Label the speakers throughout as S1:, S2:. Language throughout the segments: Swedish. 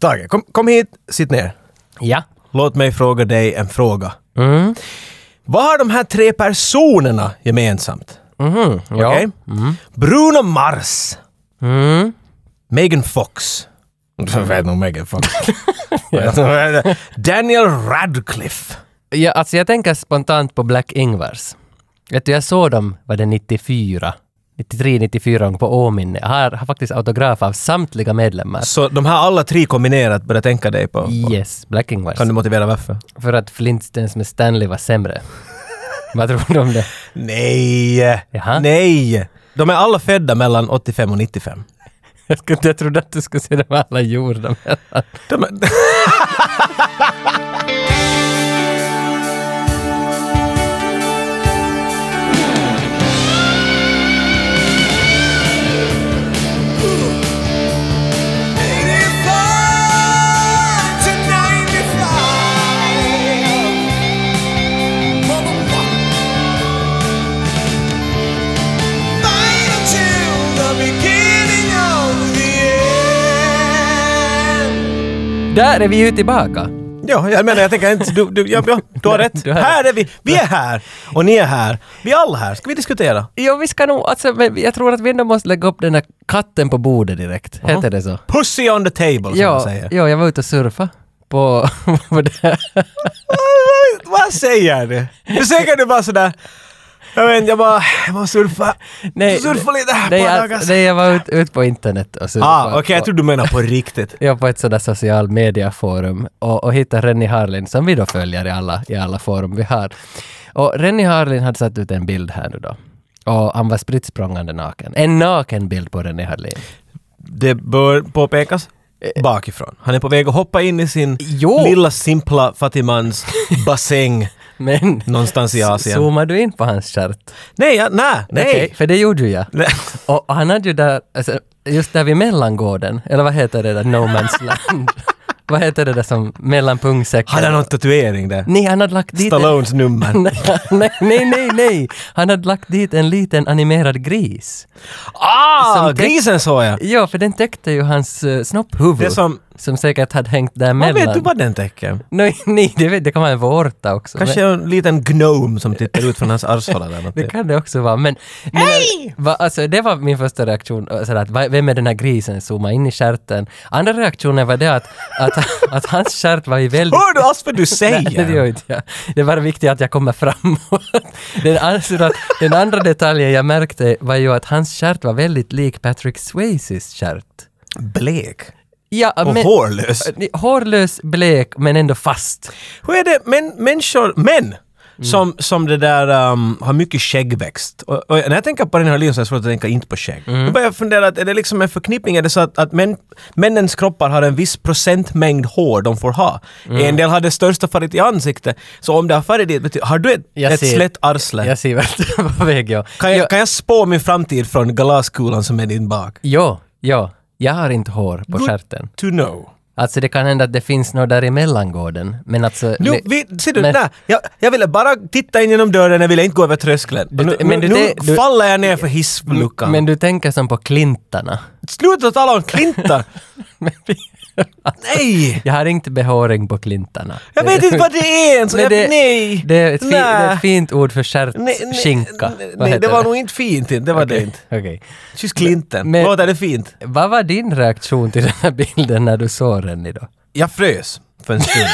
S1: Tage, kom, kom hit, sitt ner.
S2: Ja.
S1: Låt mig fråga dig en fråga.
S2: Mm.
S1: Vad har de här tre personerna gemensamt?
S2: Mhm. Ja.
S1: Okej? Bruno Mars,
S2: Mm.
S1: Megan Fox. Jag vet nog Megan Fox. Daniel Radcliffe.
S2: Ja, alltså jag tänker spontant på Black Ingvars. Vet du, jag såg dem, var det 94? 93, 94 gånger på Åminne. Jag har, har faktiskt autograf av samtliga medlemmar.
S1: Så de här alla tre kombinerat börjar tänka dig på. på.
S2: Yes, Black Ingvars.
S1: Kan du motivera varför?
S2: För att Flintstones med Stanley var sämre. Vad tror du om det?
S1: Nej!
S2: Jaha.
S1: Nej! De är alla födda mellan 85 och 95.
S2: Jag, skulle, jag trodde att du skulle se dem alla gjorda. men-
S1: De är...
S2: Där är vi ju tillbaka!
S1: Ja, jag menar jag tänker inte... Du, du, ja, ja, du har rätt.
S2: Du har
S1: här är vi. Vi är här. Och ni är här. Vi är alla här. Ska vi diskutera?
S2: Jo, vi ska nog, alltså, men jag tror att vi ändå måste lägga upp den här katten på bordet direkt. Heter det så?
S1: Pussy on the table, som man
S2: Ja,
S1: säger.
S2: ja, jag var ute och surfa på... på det här.
S1: Vad- Vad säger du? Nu säger du bara sådär... Jag vet inte, jag bara... Jag bara surfa. surfa lite här
S2: nej,
S1: på
S2: jag,
S1: dagar.
S2: nej, jag var ute ut på internet och surfade.
S1: Ah, okej, jag
S2: på-
S1: tror du menar på riktigt.
S2: jag på ett sådant social media-forum och, och hittade Rennie Harlin som vi då följer i alla, i alla forum vi har. Och Rennie Harlin hade satt ut en bild här nu då. Och han var spritt språngande naken. En naken bild på Rennie Harlin.
S1: Det bör påpekas bakifrån. Han är på väg att hoppa in i sin
S2: Eh. Jo.
S1: lilla simpla fattigmans bassäng
S2: Men
S1: någonstans i Asien.
S2: zoomar du in på hans stjärt?
S1: Nej, ja, nej,
S2: Okej,
S1: nej.
S2: för det gjorde ju jag.
S1: Nej.
S2: Och, och han hade ju där, alltså, just där vid mellangården, eller vad heter det där, No Man's Land? vad heter det där som mellan pungsäcken?
S1: Hade han någon tatuering där?
S2: Nej, han hade lagt dit... en-
S1: Stallones nummer.
S2: nej, nej, nej, nej. Han hade lagt dit en liten animerad gris.
S1: Ah,
S2: Som teck-
S1: grisen såg jag!
S2: Ja, för den täckte ju hans uh, snopphuvud.
S1: Det är som...
S2: som säkert hade hängt där
S1: Vad
S2: mellan.
S1: vet du vad den täcker?
S2: Nej, nej det, vet, det kan vara en vårta också.
S1: Kanske en liten gnome som tittar ut från hans arshåla eller något.
S2: Men, det kan det också vara. Men, men va, alltså, det var min första reaktion. eh, Sådär, att, va- vem är den här grisen? Zooma in i stjärten. Andra reaktionen var det att, att, att hans stjärt var ju väldigt...
S1: Hör du alls vad du säger?
S2: Nej, det gör inte jag. Det var viktigt att jag kommer framåt. Den, alltså, att den andra detaljen jag märkte var ju att hans stjärt var väldigt lik Patrick Swayzes stjärt.
S1: Blek.
S2: Ja,
S1: Och
S2: men,
S1: hårlös.
S2: Hårlös, blek, men ändå fast.
S1: Hur är det män, människor, män, som, som det där ehm, har mycket skäggväxt? Och, och när jag tänker på den här linjen så är det svårt att tänka inte på skägg. Då börjar jag fundera, att är det liksom en förknippning? Är det så att, att män, männens kroppar har en viss procentmängd hår de får ha? En del har det största färget i ansiktet. Så om det har färg dit, betyder- har du ett,
S2: Jag
S1: ett
S2: ser-
S1: slätt arsle?
S2: Jag ser vart du är på väg, ja.
S1: Kan jag,
S2: Ja,
S1: kan jag spå min framtid från glaskulan som är din bak?
S2: ja, ja. Jag har inte hår på stjärten.
S1: To know.
S2: Alltså det kan hända att det finns något där i mellangården. Men alltså...
S1: Nu,
S2: men-
S1: vi, ser du,
S2: men-
S1: där, jag, jag ville bara titta in genom dörren, jag ville inte gå över tröskeln. Och nu
S2: men
S1: nu,
S2: du-
S1: nu
S2: du-
S1: faller jag ner för hissluckan.
S2: Men du tänker som på klintarna.
S1: Sluta tala om klintar! nej!
S2: Jag har inte behåring på klintarna.
S1: Jag vet inte vad det är! Så
S2: Men
S1: jag,
S2: det-
S1: nej!
S2: Det är ett, fi- det är
S1: Nej.
S2: ett fint ord för stjärt,
S1: Nej, nej,
S2: skinka.
S1: nej,
S2: Vad
S1: Nej, det
S2: heter
S1: var nog inte fint inte. Det var det inte.
S2: Okej.
S1: Kyss klinten.
S2: Men-
S1: Låter det fint?
S2: Vad var din reaktion till den här bilden när du såg den idag?
S1: Jag frös för en stund.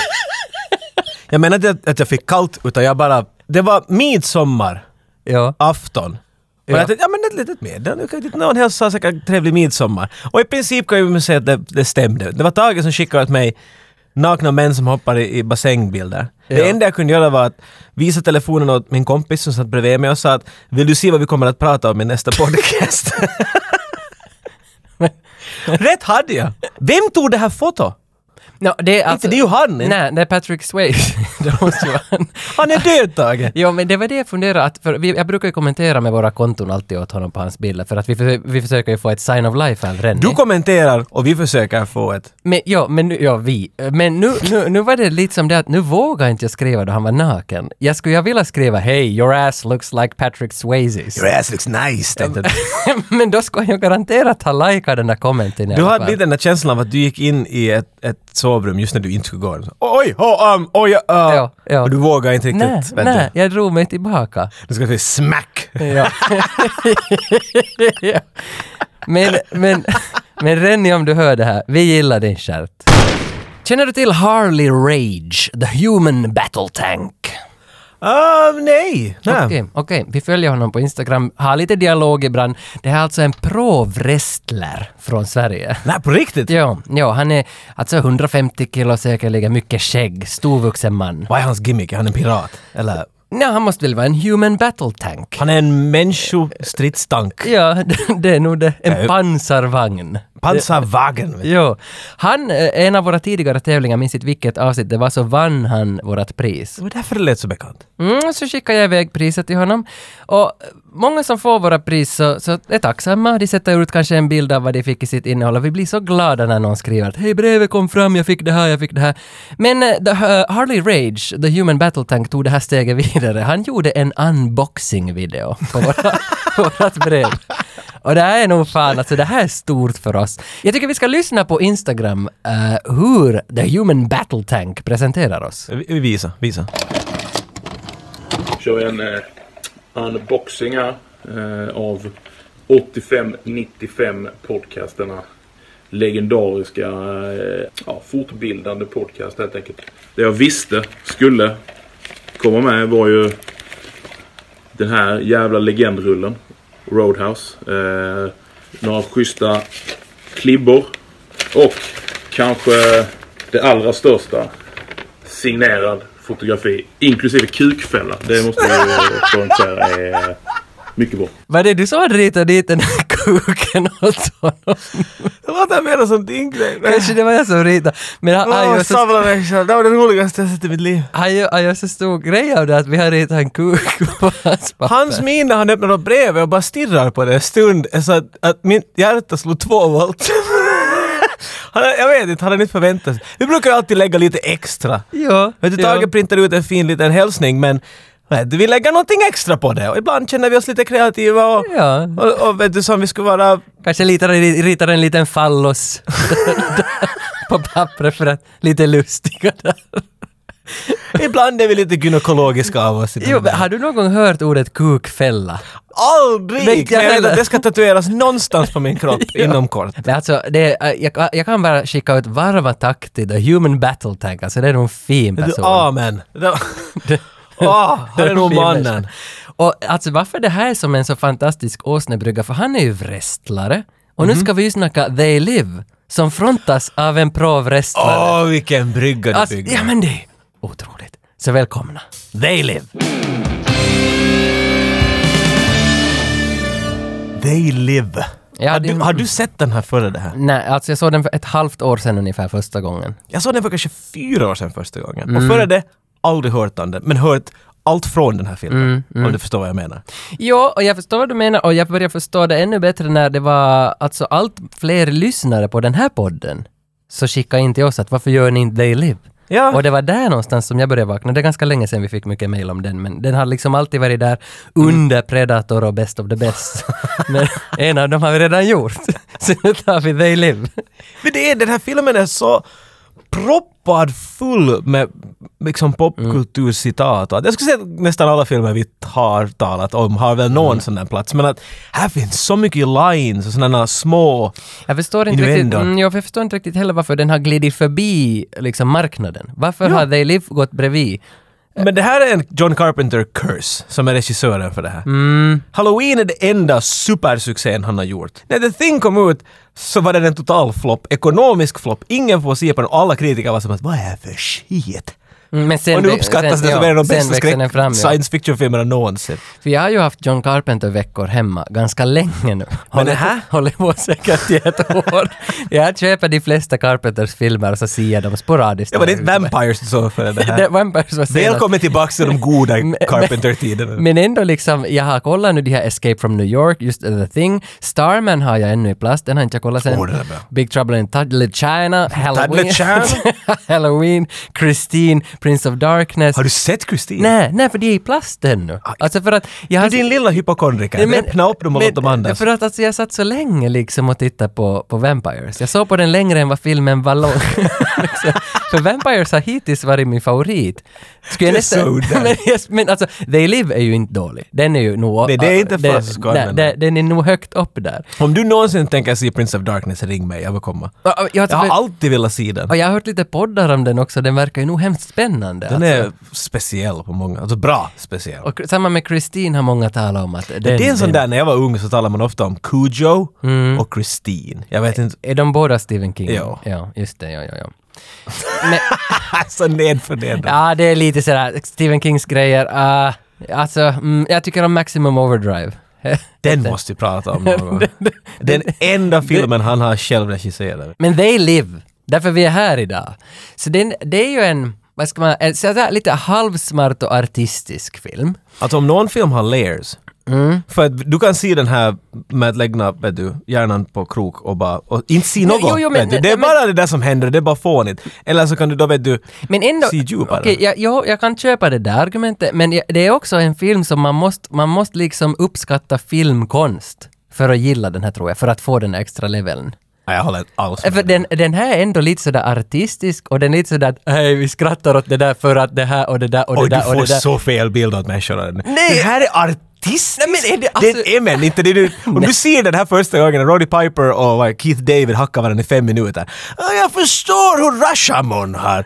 S1: jag menar inte att- att jag fick kallt, utan jag bara... Det var midsommar.
S2: Ja.
S1: afton. Och
S2: Ja.
S1: jag tänkte, ja men ett litet meddelande, nu kan ju någon hälsa säkert trevlig midsommar. Och i princip kan jag ju säga att det, det stämde. Det var Tage som skickade åt mig nakna män som hoppar i, i bassängbilder.
S2: Ja.
S1: Det enda jag kunde göra var att visa telefonen åt min kompis som satt bredvid mig och sa att vill du se vad vi kommer att prata om i nästa podcast? Rätt hade jag! Vem tog det här fotot?
S2: No, det är alltså,
S1: Inte det är ju han! inte?
S2: Nej, det är Patrick Swayze. det måste ju vara han.
S1: Han är död Tage!
S2: Ja, men det var det jag funderade att, för vi, jag brukar ju kommentera med våra konton alltid åt honom på hans bilder, för att vi, försö- vi försöker ju få ett sign of life av Rennie.
S1: Du kommenterar och vi försöker få ett...
S2: Men ja, men nu, ja vi. Men nu, nu, nu var det lite som det att nu vågar inte jag skriva då han var naken. Jag skulle ju vilja skriva “Hey, your ass looks like Patrick Swayzes”.
S1: Your ass looks nice! tänkte du.
S2: men då skulle jag ju garanterat ha likat den där kommenten i
S1: Du
S2: alla
S1: hade
S2: fall.
S1: lite den där känslan av att du gick in i ett ett sovrum just när du inte skulle gå. Så, Oj, oh, um, oj, uh.
S2: Ja, ja.
S1: Och du vågar inte riktigt.
S2: Nej,
S1: vet
S2: nej,
S1: Du.
S2: jag drog mig tillbaka.
S1: du ska säga smack!
S2: Ja. ja. Men, men, men Renny, om du hör det här, vi gillar din stjärt. Känner du till Harley Rage, the human battle tank?
S1: Ah, nej! nej.
S2: Okej, okej. vi följer honom på Instagram, har lite dialog ibland. Det här är alltså en pro-wrestler från Sverige.
S1: Nej, på riktigt?
S2: Ja, ja, han är alltså 150 kilo säkerligen, mycket skägg, storvuxen man.
S1: Vad är hans gimmick? Är han en pirat? Eller?
S2: Nej, han måste väl vara en human battle tank?
S1: Han är en människostridstank.
S2: Ja, det- det är nog det. En pansarvagn.
S1: Pansarvagn. vet du.
S2: Jo. Han, eh, en av våra tidigare tävlingar, minns inte vilket avsnitt det var, så vann han vårt pris.
S1: Det var därför det lät så bekant.
S2: Mm, så skickade jag iväg priset till honom. Och eh, många som får våra pris så, så är tacksamma. De sätter ut kanske en bild av vad de fick i sitt innehåll och vi blir så glada när någon skriver att hej brevet kom fram, jag fick det här, jag fick det här. Men eh, the, eh, Harley Rage, The Human Battle Tank, tog det här steget vidare. Han gjorde en unboxing-video på våra- på vårt brev. Och det här är nog fan, alltså det här är stort för oss. Jag tycker vi ska lyssna på Instagram eh, hur The Human Battle Tank presenterar oss.
S1: Vi- vi Visa, visa.
S3: kör en eh, unboxing här eh, av 85-95 podcasterna. Legendariska eh, ja, fortbildande podcast helt enkelt. Det jag visste skulle komma med var ju den här jävla legendrullen. Roadhouse. Eh, några schyssta klibbor. Och kanske det allra största signerad fotografi, inklusive kukfälla. Det måste jag ju poängtera är mycket bra.
S2: Var det du som hade ritat dit den här kuken åt honom?
S1: Det låter mer som din grej.
S2: Kanske det var jag som ritade. Men han, han, gör så,
S1: människor. Det var det roligaste jag sett i mitt liv.
S2: han, gör, han gör så stor grej av det att vi har ritat en kuk på hans papper.
S1: Hans min när han öppnar upp brevet och bara stirrar på det en stund är så att, att mitt hjärta slog två volt. Han, jag vet inte, han hade inte förväntat sig. Vi brukar alltid lägga lite extra.
S2: Ja,
S1: Vet du,
S2: ja.
S1: Tage printar ut en fin liten hälsning men vet du, vi lägger någonting extra på det och ibland känner vi oss lite kreativa och,
S2: Ja.
S1: och, och vet du, som vi skulle vara
S2: Kanske ritar, ritar en liten fallos på pappret för att lite lustiga där.
S1: Ibland är vi lite gynekologiska av oss. i den
S2: Jo, men
S1: där.
S2: har du någon gång hört ordet kukfälla?
S1: Aldrig!
S2: Men
S1: Men
S2: jag
S1: jag vet
S2: menar-
S1: att det ska tatueras någonstans på min kropp inom kort.
S2: Men alltså, det är, jag, jag kan bara skicka ut varma tack till The Human Battle Tank. Alltså det är nog en fin
S1: Du,
S2: person.
S1: amen! Det- Åh, han är nog
S2: Fin
S1: mannen.
S2: människa. Och alltså varför det här är som en så fantastisk åsnebrygga, för han är ju wrestlare. Och nu ska vi ju snacka They Live, som frontas av en pro-wrestlare.
S1: Åh, vilken brygga du
S2: alltså,
S1: byggde.
S2: ja men det är otroligt. Så välkomna. They Live.
S1: They live.
S2: Ja,
S1: har,
S2: det-
S1: du, har du sett den här före det här?
S2: Nej, alltså jag såg den för ett halvt år sedan ungefär första gången.
S1: Jag såg den för kanske fyra år sedan första gången.
S2: Mm.
S1: Och före det, aldrig hört om den, men hört allt från den här filmen.
S2: Mm,
S1: Om du förstår vad jag menar.
S2: Ja, och jag förstår vad du menar och jag börjar förstå det ännu bättre när det var alltså allt fler lyssnare på den här podden. Så skicka in till oss att varför gör ni inte They Live?
S1: Ja.
S2: Och det var där någonstans som jag började vakna. Det är ganska länge sedan vi fick mycket mail om den, men den har liksom alltid varit där under Predator och Best of the Best. men en av dem har vi redan gjort. så nu tar vi They Live.
S1: Men det är, den här filmen är så proppad full med liksom popkulturcitat. och allt. Jag skulle säga att nästan alla filmer vi har talat om har väl någon sån där plats. Men att här finns så mycket lines och sådana små...
S2: Jag förstår inte riktigt,
S1: Innuendo.
S2: mm, jag förstår inte riktigt heller varför den har glidit förbi liksom, marknaden. Varför har They Live gått bredvid?
S1: Men det här är en John Carpenter curse som är regissören för det här. Halloween är det enda supersuccén han har gjort. När The Thing kom ut så var den en total flopp, ekonomisk flopp. Ingen får se på den och alla kritiker var som att vad är det här för shit?
S2: Mm, Men sen,
S1: Och nu uppskattas det som en av de
S2: sen
S1: bästa
S2: växer den
S1: skräck
S2: fram, ja.
S1: science fiction-filmerna någonsin.
S2: För jag har ju haft John Carpenter-veckor hemma ganska länge nu. Håller,
S1: här?
S2: håller på säkert i ett år. jag köper de flesta Carpenters filmer och så ser jag dem sporadiskt.
S1: Det var ditt Vampires du såg före det
S2: Det
S1: här.
S2: var en person som säger
S1: Välkommen tillbaka till de goda
S2: att-
S1: Carpenter-tiderna.
S2: Men ändå liksom, jag har kollat nu de här Escape from New York, just eh, The Thing. Starman har jag ännu i plast, den har inte jag kollat sen.
S1: Åh, den är bra.
S2: Big Trouble in Little China, Halloween.
S1: China?
S2: Halloween, Christine, Prince of Darkness.
S1: Har du sett Kristin?
S2: Nej, nej, för det är i plast ännu. Alltså för att... Jag
S1: Du
S2: har-
S1: din lilla hypokondriker.
S2: Nej, men-
S1: Öppna upp dem och
S2: men-
S1: låt dem andas.
S2: För att alltså, jag satt så länge liksom och tittade på, på Vampires. Jag såg på den längre än vad filmen var lång. liksom. För Vampires har hittills varit min favorit. Skulle jag
S1: Det är så udda.
S2: men, yes, men alltså, They Live är ju inte dålig. Den är ju nog...
S1: Nej, det är inte
S2: den-
S1: fast skoj,
S2: nej,
S1: men-
S2: den- Den är nog högt upp där.
S1: Om du någonsin tänker se Prince of Darkness, ring mig. Jag vill komma.
S2: Och- och Jag,
S1: Jag
S2: för-
S1: har alltid velat se den.
S2: och jag har hört lite poddar om den också. Den verkar ju nog hemskt spännande.
S1: Den
S2: alltså.
S1: är speciell på många, alltså bra speciell.
S2: Och samma med Christine har många talat om att den... Mm.
S1: det är en sån
S2: den-
S1: där, när jag var ung så talade man ofta om Cujo och Christine. Jag vet inte,
S2: Är de båda Stephen King?
S1: Ja.
S2: Ja, just det. Ja, ja, ja. Men,
S1: alltså nedförnedrande.
S2: Ja, det är lite sådär Stephen Kings grejer. Ah, alltså, mm, jag tycker om Maximum Overdrive.
S1: Den måste vi prata om någon gång. Den enda filmen han har själv regisserat.
S2: Men they live. Därför vi är här idag. Så det, är en- det är ju en, vad ska man, en sådär lite halvsmart och artistisk film.
S1: Alltså om någon film har layers,
S2: Mm.
S1: för att du kan se den här med att lägga vet du, hjärnan på krok och bara och inte se något.
S2: jo, jo, men-
S1: vet du. Det är
S2: men-
S1: bara det där som händer, det är bara fånigt. Eller så kan du då vet du
S2: Men ändå...
S1: se djupare.
S2: Okej, jag, jag, jag kan köpa det där argumentet, men jag- det är också en film som man måste, man måste liksom uppskatta filmkonst för att gilla den här tror jag, för att få den här extra leveln.
S1: Nej, jag håller inte alls
S2: Ja, Eh, För
S1: med.
S2: den, den här är ändå lite sådär artistisk och den är lite sådär att hej vi skrattar åt det där för att det här och det där och det
S1: Oj, du
S2: där och
S1: får
S2: det där.
S1: så fel bild åt människorna.
S2: Nej.
S1: Det här är artistiskt!
S2: Nej, men är det- alltså-
S1: Den är men inte det du... Om du ser den här första gången, Roddy Piper och vad, Keith David hackar varandra i fem minuter. "Ja, Jag förstår hur Rashomon har...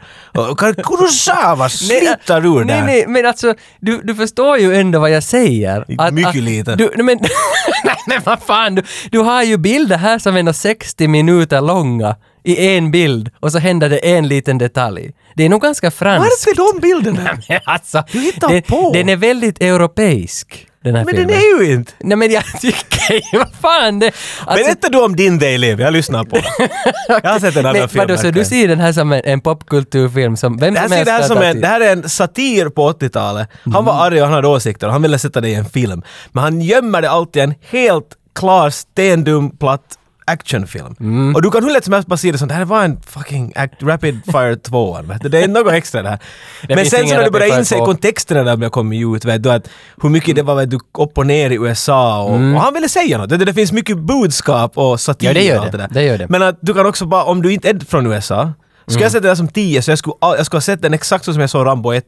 S1: Och Kurosawa sliter ur
S2: eh, nej,
S1: där.
S2: nej, men alltså du, du förstår ju ändå vad jag säger.
S1: Mycket lite.
S2: Du, nej, men, nej, men vad fan, du, du har ju bilder här som är ändå 60 minuter långa i en bild och så händer det en liten detalj. Det är nog ganska franskt.
S1: Varför de bilderna?
S2: Alltså,
S1: Du hittar
S2: den,
S1: på.
S2: den är väldigt europeisk, den här
S1: Men
S2: filmen.
S1: den är ju inte...
S2: Nej men jag tycker ju, vad fan det... alltså-
S1: Berätta du om din Day Live, jag lyssnar på den. Jag har sett en annan
S2: Men
S1: film.
S2: vadå, så du
S1: verkligen.
S2: ser den här som en, en popkulturfilm som vem
S1: Det här, ser
S2: som helst
S1: det, här
S2: kan
S1: som
S2: ta
S1: en,
S2: till?
S1: det här är en satir på 80-talet. Han
S2: Mm.
S1: var arg och han hade åsikter och han ville sätta det i en film. Men han gömmer det alltid i en helt klar, stendum, platt actionfilm.
S2: Mm.
S1: Och du kan hur lätt som helst bara se det som det här var en fucking act, Rapid Fire 2. vet du. Det är något extra det här. Men
S2: finns
S1: sen så
S2: ingen
S1: när du
S2: Rapid
S1: börjar
S2: Fire
S1: inse
S2: 2.
S1: kontexterna där jag kom ut, vet du, att hur mycket det var vet du, upp och ner i USA och, och han ville säga något. Det, det finns mycket budskap och satir
S2: Mm. Ja, det gör
S1: och allt det
S2: det.
S1: där.
S2: Det gör det.
S1: Men att du kan också bara, om du inte är från USA, skulle
S2: Mm.
S1: jag sett den där som 10 så jag skulle, all- jag skulle ha sett den exakt så som jag såg Rambo 1.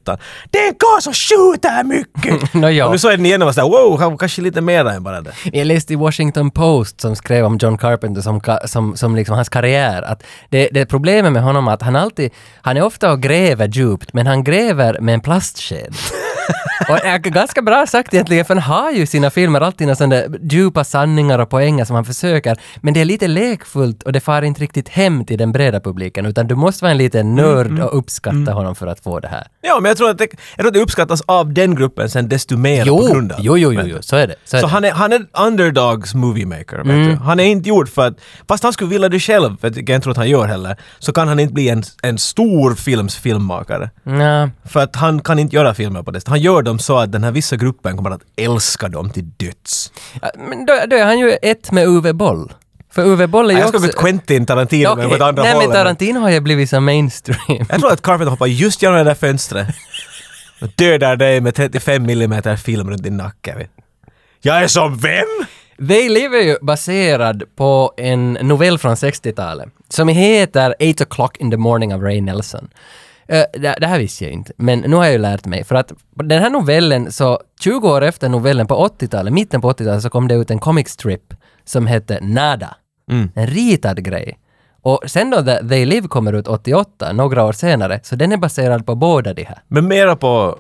S1: Det är en karl som skjuter mycket!
S2: Nå, ja.
S1: Och nu såg jag den igen och var såhär wow, han var kanske lite mer än bara det.
S2: Jag läste i Washington Post som skrev om John Carpenter som, ka- som, som liksom hans karriär att det, det problemet med honom är att han alltid, han är ofta och gräver djupt men han gräver med en plastsked. och det är ganska bra sagt egentligen för han har ju i sina filmer alltid några sådana där djupa sanningar och poänger som han försöker men det är lite lekfullt och det far inte riktigt hem till den breda publiken utan du måste vara en liten
S1: Mm,
S2: nörd och uppskatta honom för att få det här.
S1: Ja, men jag tror, att det, jag tror att det uppskattas av den gruppen sen desto mer på
S2: Jo,
S1: grund av.
S2: jo, jo, jo, jo, så är det. Så är
S1: Så
S2: det.
S1: han är, han är underdogs movie maker. Vet
S2: Mm.
S1: du? Han är inte gjord för att, fast han skulle vilja det själv, vilket jag inte tror att han gör heller, så kan han inte bli en, en stor films filmmakare.
S2: Nja.
S1: För att han kan inte göra filmer på det sättet. Han gör dem så att den här vissa gruppen kommer att älska dem till döds.
S2: Ja, Men då, då är han ju ett med Uwe Boll. För Uwe Boll är ju
S1: Jag
S2: också...
S1: skulle bli Quentin Tarantino
S2: Ja, eh,
S1: men på ett andra
S2: Nej
S1: hållet.
S2: men Tarantino har ju blivit så mainstream.
S1: Jag tror att Carpenter hoppar just genom det där fönstret och dödar dig med 35 mm film runt din nacke. vet du. Jag är som vem?
S2: They Live är ju baserad på en novell från 60-talet som heter Eight O'Clock in the Morning av Ray Nelson. Eh, det, det här visste jag inte, men nu har jag ju lärt mig. För att den här novellen, så 20 år efter novellen på 80-talet, mitten på 80-talet, så kom det ut en comic strip som hette Nada. En ritad grej. Och sen då The- They Live kommer ut 88, några år senare, så den är baserad på båda de här.
S1: Men mera på,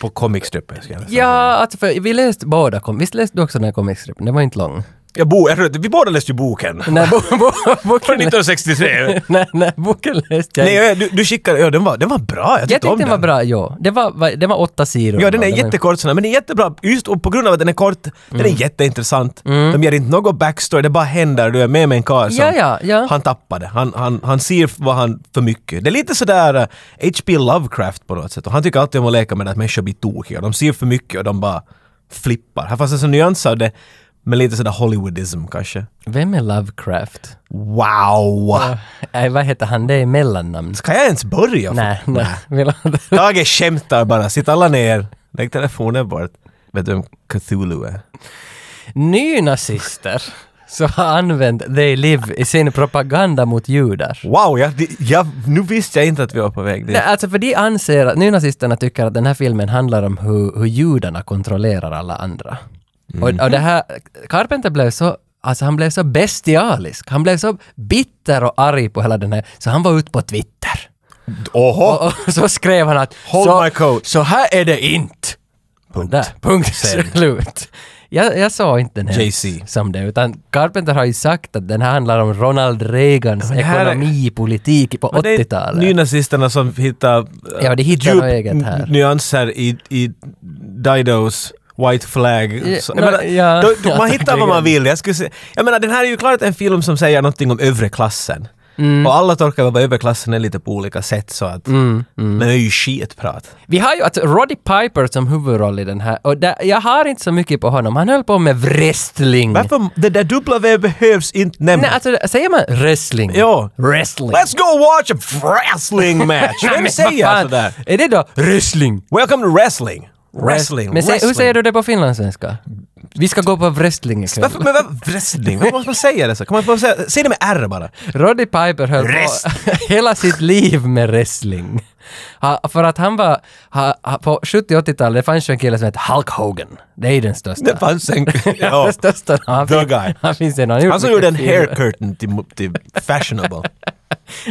S1: på comicstrippen skulle jag säga.
S2: Ja, alltså för vi läste båda, kom, visst läste du också den här comic stripen? Den var inte lång.
S1: Jag bo, jag, tror att- vi båda läste ju boken. Från
S2: Nej, bo, bo, boken,
S1: 1963.
S2: nej, nej, boken läste jag
S1: Nej,
S2: inte.
S1: jag- du, du skickade... Ja, den var, den var bra. Jag tyckte
S2: Jag tyckte
S1: om
S2: den var bra, ja. Det var, var, det var åtta sidor.
S1: Ja, den är
S2: Det var-
S1: jättekort sån här, men den är jättebra just och på grund av att den är kort. Den
S2: Mm.
S1: är jätteintressant. De ger inte något backstory, det bara händer. Du är med med en karl som...
S2: Ja, ja, ja.
S1: Han tappade. Han, han, han ser vad han för mycket. Det är lite sådär eh, H.P. Lovecraft på något sätt. Och han tycker alltid om att leka med det att människor blir tokiga. De ser för mycket och de bara flippar. Här fanns en sån nyans av det Men lite sådär Hollywoodism kanske.
S2: Vem är Lovecraft?
S1: Wow!
S2: Äh, vad heter han? Det är mellannamn.
S1: Ska jag ens börja?
S2: Nej, nej. Vill han inte?
S1: Tage skämtar bara. Sitt alla ner. Lägg telefonen bort. Vet du vem Cthulhu är?
S2: Nynazister som har använt They Live i sin propaganda mot judar.
S1: Wow, jag, det- jag, nu visste jag inte att vi var på väg dit.
S2: Nej, alltså för de anser att nynazisterna tycker att den här filmen handlar om hur, hur judarna kontrollerar alla andra.
S1: Mm.
S2: Och, och det här, Carpenter blev så, alltså han blev så bestialisk. Han blev så bitter och arg på hela den här, så han var ute på Twitter.
S1: Oho!
S2: Och, och så skrev han att
S1: Hold
S2: så,
S1: my coat."
S2: så här är det inte.
S1: Punkt.
S2: Där, punkt slut. Jag, jag sa inte den här
S1: JC.
S2: som det, utan Carpenter har ju sagt att den här handlar om Ronald Reagans
S1: men det här är-
S2: ekonomipolitik på
S1: Men det är
S2: 80-talet.
S1: Nynazisterna som hittar eh,
S2: Ja, de hittar något eget här.
S1: n- nyanser i, i Didos White Flag.
S2: Ja,
S1: Så,
S2: nå,
S1: jag menar,
S2: ja,
S1: då, då,
S2: ja,
S1: man hittar vad
S2: verkligen.
S1: man vill. Jag, skulle säga, jag menar, den här är ju klart en film som säger någonting om övre klassen.
S2: Mm.
S1: Och alla tolkar väl vad överklassen är lite på olika sätt så att...
S2: mm.
S1: Men det är ju skitprat.
S2: Vi har ju alltså Roddy Piper som huvudroll i den här och där, jag har inte så mycket på honom. Han höll på med wrestling.
S1: Varför? Det där dubbla V behövs inte nämnas.
S2: Nej, alltså säger man wrestling?
S1: Ja.
S2: Wrestling.
S1: Let's go watch a wrestling match!
S2: Nej,
S1: Vem
S2: men
S1: säger
S2: vad fan?
S1: sådär?
S2: Är det då wrestling?
S1: Welcome to wrestling! Wrestling,
S2: Men säg-
S1: wrestling.
S2: hur säger du det på finlandssvenska? Vi ska gå på wrestling ikväll.
S1: Varför, men vad, wrestling? Varför måste man säga det så? Kan man bara säga, säg det med R bara.
S2: Roddy Piper höll på hela sitt liv med wrestling. Ha, för att han var, ha, ha, på 70 80-talet, det fanns ju en kille som hette Hulk Hogan. Det är ju den största.
S1: Det fanns en...
S2: Den
S1: Ja.
S2: största. Han,
S1: The
S2: fin-
S1: guy.
S2: han finns en
S1: Han som gjorde en hair curtain till, till fashionable.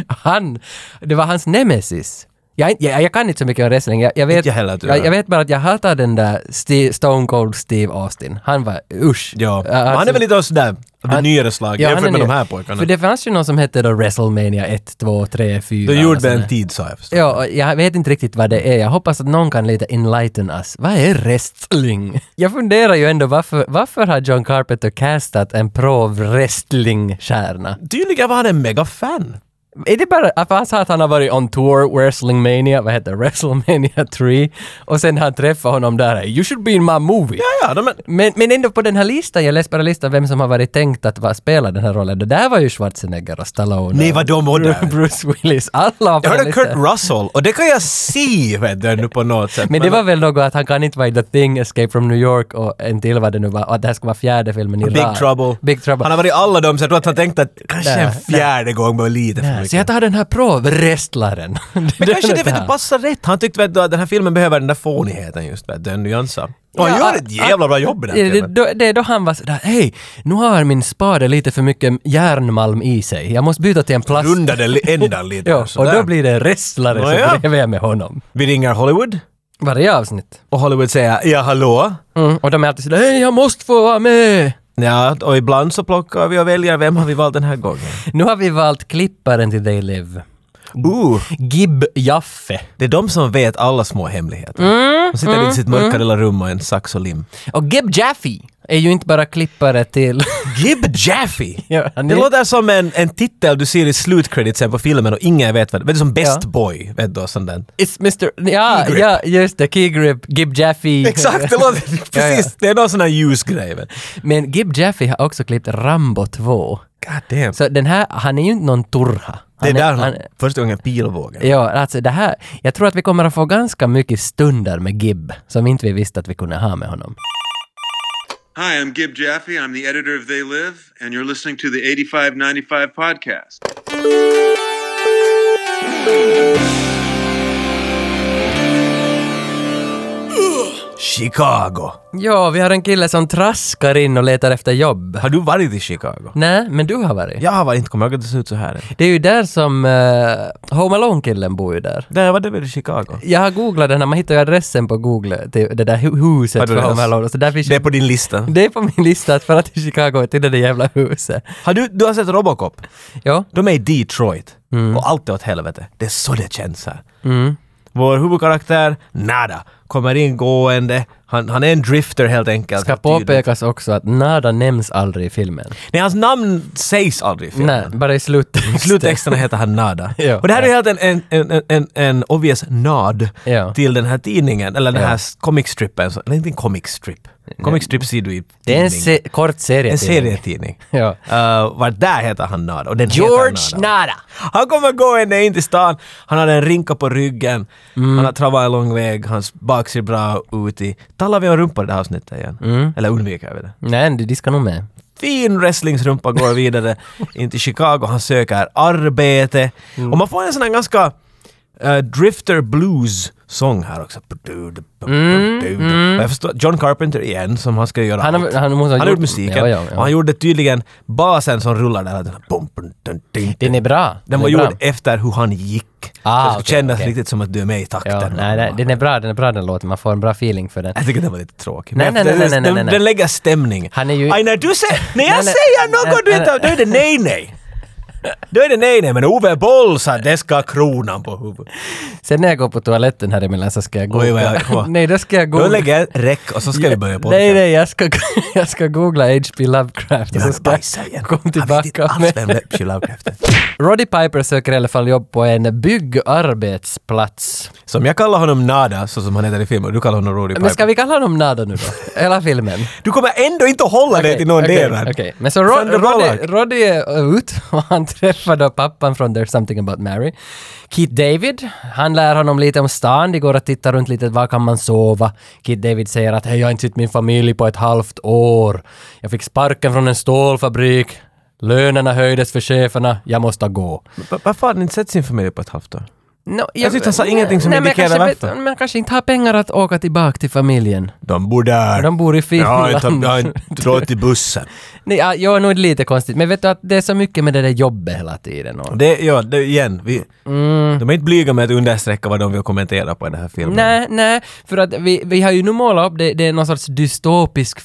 S2: Han, det var hans nemesis. Jag, jag, jag kan inte så mycket om wrestling. Jag, jag, vet,
S1: Inte jag heller, tror
S2: jag,
S1: jag.
S2: jag vet bara att jag hatar den där Steve, Stone Cold Steve Austin. Han var usch.
S1: Ja.
S2: Äh,
S1: Men han
S2: alltså-
S1: är väl lite av sådär, av det
S2: Han-
S1: nyare slaget
S2: Ja,
S1: jämfört
S2: han är
S1: med de
S2: ny.
S1: här pojkarna.
S2: För det fanns ju någon som hette då WrestleMania 1, 2, 3, 4.
S1: De
S2: och
S1: gjorde
S2: sådär.
S1: en tid sa jag förstås.
S2: alltså- Ja, och jag vet inte riktigt vad det är. Jag hoppas att någon kan lite enlighten us. Vad är wrestling? Jag funderar ju ändå varför, varför har John Carpenter castat en pro-wrestling-stjärna?
S1: Tydligen var han en megafan.
S2: Är det bara att han sa att han har varit on tour, wrestlingmania, vad heter det, wrestlemania 3 och sen han träffade honom där, you should be in my movie.
S1: Ja, ja, de, men,
S2: Men, men ändå på den här listan, jag läste bara listan vem som har varit tänkt att vara, spela den här rollen. Det där var ju Schwarzenegger och Stallone.
S1: nej vad de var
S2: och
S1: där.
S2: Bruce Willis, alla har på
S1: Jag
S2: den
S1: hörde
S2: listan.
S1: Kurt Russell och det kan jag se vet du, nu på något sätt.
S2: Men det var väl något att han kan inte vara i The Thing, Escape from New York och en till vad det nu var, och att det här ska vara fjärde filmen i
S1: Big
S2: rad.
S1: Trouble.
S2: Big Trouble.
S1: Han har varit i alla dem så jag tror att han tänkte att kanske
S2: Nej,
S1: en fjärde gång var lite för mycket.
S2: Så jag tar den här pro-wrestlaren.
S1: Men kanske det vet du, passar rätt. Han tyckte vet du, att den här filmen behöver den där fånigheten just, vet du, den nyansen. Och han
S2: Ja,
S1: gör ett
S2: ja,
S1: jävla bra jobb i den
S2: det, det,
S1: filmen.
S2: då- det är då han var sådär, hej, nu har min spade lite för mycket järnmalm i sig. Jag måste byta till en plast.
S1: Rundade li- ändan lite.
S2: ja, och
S1: sådär.
S2: då blir det en wrestlare
S1: Nåja.
S2: så bredvid jag med honom.
S1: Vi ringer Hollywood
S2: Varje avsnitt.
S1: och Hollywood säger ja hallå.
S2: Mm, och de är alltid sådär, hej, jag måste få vara med!
S1: Ja, och ibland så plockar vi och väljer vem har vi valt den här gången.
S2: Nu har vi valt klipparen till They Live.
S1: Ooh,
S2: Gib Jaffe.
S1: det är de som vet alla små hemligheter.
S2: Mm,
S1: De sitter i sitt mörka lilla rum och en sax och lim.
S2: Och Gib Jaffe är ju inte bara klippare till...
S1: Gib Jaffe!
S2: Ja, han
S1: Det
S2: är-
S1: låter som en, en titel du ser i slutcreditsen på filmen och ingen vet vad det är. Vet du som Best
S2: Ja.
S1: Boy? Vet du, och sånt där.
S2: It's Mr... Ja,
S1: Key grip.
S2: ja, just det. Key Grip, Gib Jaffe.
S1: Exakt, det låter precis.
S2: Ja, ja.
S1: Det är någon sån här ljusgrej. men-
S2: Men Gib Jaffe har också klippt Rambo 2.
S1: God damn.
S2: Så den här, han är ju inte någon turha.
S1: det är
S2: Han
S1: där Eh, han,
S2: han,
S1: första gången pilbågen.
S2: Ja, alltså det här, jag tror att vi kommer att få ganska mycket stunder med Gib som inte vi visste att vi kunde ha med honom.
S4: Hi, I'm Gib Jaffe. I'm the editor of They Live, and you're listening to the 8595 podcast.
S1: Chicago.
S2: Ja, vi har en kille som traskar in och letar efter jobb.
S1: Har du varit i Chicago?
S2: Nej, men du har varit.
S1: Jag har varit, inte kommer ihåg att det ser ut så här. än.
S2: Det är ju där som uh, Home Alone-killen bor ju där.
S1: Där var det väl i Chicago?
S2: Jag har googlat den här, man hittar ju adressen på Google, till det där hu-
S1: Har
S2: huset
S1: du
S2: för
S1: det?
S2: Home Alone. Så där finns
S1: Det är på din lista.
S2: Det är på min lista att fara till Chicago till det där jävla huset.
S1: Har du, du har sett Robocop? Mm.
S2: Ja.
S1: De är i Detroit. Mm. Och allt är åt helvete. Det är så det känns här. Vår huvudkaraktär, nada. kommer in gående. Han, han är en drifter helt enkelt.
S2: Ska
S1: tydligt.
S2: påpekas också att Nada nämns aldrig i filmen.
S1: Nej, hans namn sägs aldrig i filmen.
S2: Nej, bara i sluttexten.
S1: I sluttexterna heter han Nada.
S2: Ja.
S1: och det här är helt en, en, en, en, en obvious nod
S2: Ja.
S1: till den här tidningen, eller den
S2: Ja.
S1: här comicstrippen. Så- Eller inte en comicstrip. Comicstrip ser du i
S2: Det är en
S1: tidning.
S2: se- kort serietidning.
S1: En serietidning.
S2: Ja.
S1: Uh, var där heter han Nada. Och den heter
S2: George
S1: Nada.
S2: Nada.
S1: Han kommer gående in till stan. Han har en rinka på ryggen.
S2: Mm.
S1: Han har travat en lång väg. Hans bak ser bra ut i... Talar vi om rumpa i det här avsnittet igen?
S2: Mm.
S1: Eller undviker vi det?
S2: Nej, du, de ska nog med.
S1: fin wrestlingsrumpa går vidare in till Chicago. Han söker arbete.
S2: Mm.
S1: Och man får en sån här ganska eh, Drifter Blues-sång här också. Och Jag förstår, John Carpenter igen, som han ska göra
S2: Mm, Han har-
S1: allt.
S2: han måste ha
S1: han har
S2: gjort-
S1: gjort musiken.
S2: ja, ja, ja.
S1: Och han gjorde tydligen basen som rullar där. Den, här bum, bum, dun, dun, dun.
S2: Den är bra.
S1: den var
S2: är bra.
S1: gjord efter hur han gick.
S2: Ah,
S1: så det
S2: okej,
S1: skulle kännas
S2: okej.
S1: riktigt som att du är med i takten.
S2: Ja, nej, nej, den är bra, den är bra den låten. Man får en bra feeling för den.
S1: Jag tycker den var lite tråkig.
S2: Nej,
S1: Men
S2: nej, nej,
S1: den-
S2: nej, nej,
S1: den-
S2: nej, nej.
S1: Den lägger stämning.
S2: Han är ju-
S1: Aj, när du säger... När
S2: Nej,
S1: jag
S2: nej,
S1: säger
S2: nej,
S1: något du
S2: nej,
S1: inte... Då är det nej, nej. Då är det nej, nej. Men Ove Boll sa det ska ha kronan på huvudet.
S2: Sen när jag går på toaletten här emellan så ska jag
S1: Oj, vad
S2: googla.
S1: jag kommer.
S2: nej, då ska jag
S1: Då
S2: googla.
S1: lägger jag räck och så ska vi börja på
S2: Nej, nej, jag ska, jag ska googla H.P. Lovecraft och så
S1: Jag
S2: ska
S1: bajsar igen.
S2: jag komma
S1: Jag vet inte
S2: tillbaka
S1: alls vem
S2: med...
S1: Lepsy Lovecraft är.
S2: Roddy Piper söker i alla fall jobb på en byggarbetsplats.
S1: Som jag kallar honom Nada, så som han heter i filmen, och du kallar honom Roddy Piper.
S2: Men ska vi kalla honom Nada nu då? Hela filmen?
S1: Du kommer ändå inte att hålla dig till någon
S2: Okej,
S1: del.
S2: okej. Men så Rod,
S1: Sandra Bullock.
S2: Roddy, Roddy är ut och han träffar då pappan från There's Something About Mary. Keith David, han lär honom lite om stan. De går och tittar runt lite, var kan man sova? Keith David säger att hej, jag har inte sett min familj på ett halvt år. Jag fick sparken från en stålfabrik. Lönerna höjdes för cheferna. Jag måste gå.
S1: Va- Varför har ni inte sett sin familj på ett halvt år?
S2: No, jag,
S1: tyckte han sa ingenting som
S2: men jag
S1: indikerar
S2: kanske vet-
S1: varför.
S2: Men jag kanske inte har pengar att åka tillbaka till familjen.
S1: De bor där.
S2: De bor i
S1: Jag har
S2: Finland.
S1: inte- jag har inte råd till bussen.
S2: Nej, ja, jag är nog lite konstigt. Men vet du att det är så mycket med det där jobbet hela tiden. Och...
S1: Det, ja, det, igen. Vi,
S2: Mm.
S1: De är inte blyga med att understräcka vad de vill kommentera på den här filmen.
S2: Nej, nej, för att vi, vi har ju nu målat upp det, det är någon sorts dystopisk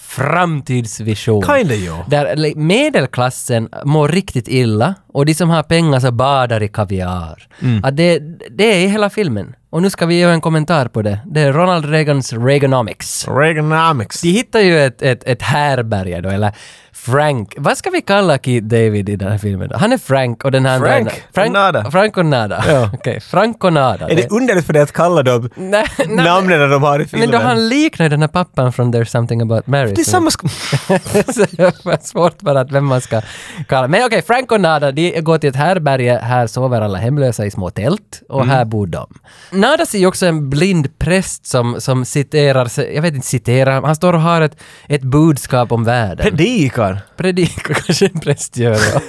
S2: framtidsvision.
S1: Kinda, ja.
S2: Där li- medelklassen mår riktigt illa och de som har pengar så badar i kaviar.
S1: Mm.
S2: Att det, det är hela filmen. Och nu ska vi göra en kommentar på det. Det är Ronald Reagans Reaganomics.
S1: Reaganomics.
S2: De hittar ju ett, ett, ett härberge då, eller Frank. Vad ska vi kalla Keith David i den här filmen? då? Han är Frank och den här
S1: Frank
S2: andra... Frank
S1: Nada.
S2: Frank och Nada. Okej, Frank och Nada.
S1: Är det underligt för dig att kalla dem
S2: Nej, nej, men-
S1: namnen de har i filmen?
S2: men då han liknar den här pappan från There's something about Mary.
S1: Det är
S2: så-
S1: samma sk-
S2: så det var svårt bara att vem man ska kalla. Men okej, Frank och Nada, de går till ett härberge. Här sover alla hemlösa i små tält och
S1: Mm.
S2: här bor de. Nada ser ju också en blind präst som, som citerar, sig- jag vet inte citerar, han står och har ett, ett budskap om världen
S1: Predikar.
S2: predikar, kanske en präst gör då.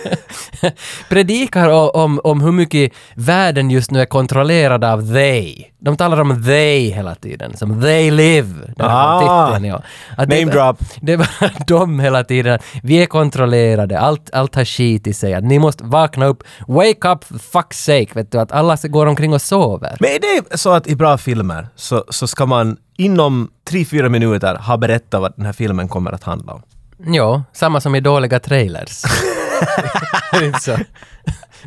S2: predikar o- om, om hur mycket världen just nu är kontrollerad av they. De talar om they hela tiden, som they live. Där har
S1: Ah.
S2: titeln, ja. Att det-
S1: Name drop.
S2: Det var de hela tiden. Vi är kontrollerade, allt, allt har skit i sig. Att ni måste vakna upp. Wake up, for fuck's sake, vet du. Att alla går omkring och sover.
S1: Men är det så att i bra filmer så, så ska man inom 3-4 minuter ha berättat vad den här filmen kommer att handla om?
S2: Ja, samma som i dåliga trailers. Inte så.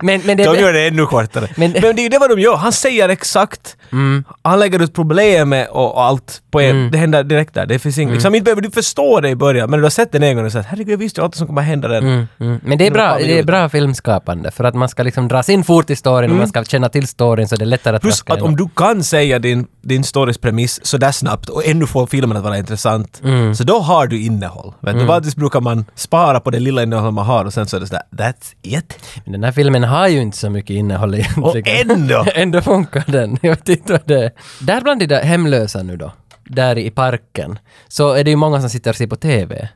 S2: Men, men det
S1: De gör det ännu kortare. Men,
S2: Men- Mm.
S1: det är ju det vad de gör. Han säger exakt. Han lägger ut problemet och och allt på en. Det händer direkt där. Det finns inget.
S2: Mm.
S1: Liksom, inte behöver du förstå det i början, men du har sett den en gång och sagt herregud, jag visste ju allt som kommer att hända den.
S2: Mm. Men det är, bra, det är bra filmskapande för att man ska liksom dras in fort i storyn och man ska känna till storyn så det är lättare att
S1: Mm. Plus
S2: traska
S1: att
S2: igenom.
S1: om du kan säga din, din stories premiss sådär snabbt och ännu få filmen att vara intressant,
S2: Mm.
S1: så då har du innehåll. Vet du, vanligtvis brukar man spara på det lilla innehåll man har och sen så är det sådär “that's it”.
S2: Men Den här filmen har ju inte så mycket innehåll
S1: Och
S2: egentligen.
S1: ändå!
S2: ändå funkar den. Jag vet inte vad det är. Där bland de där hemlösa nu då, där i parken, så är det ju många som sitter och ser på TV.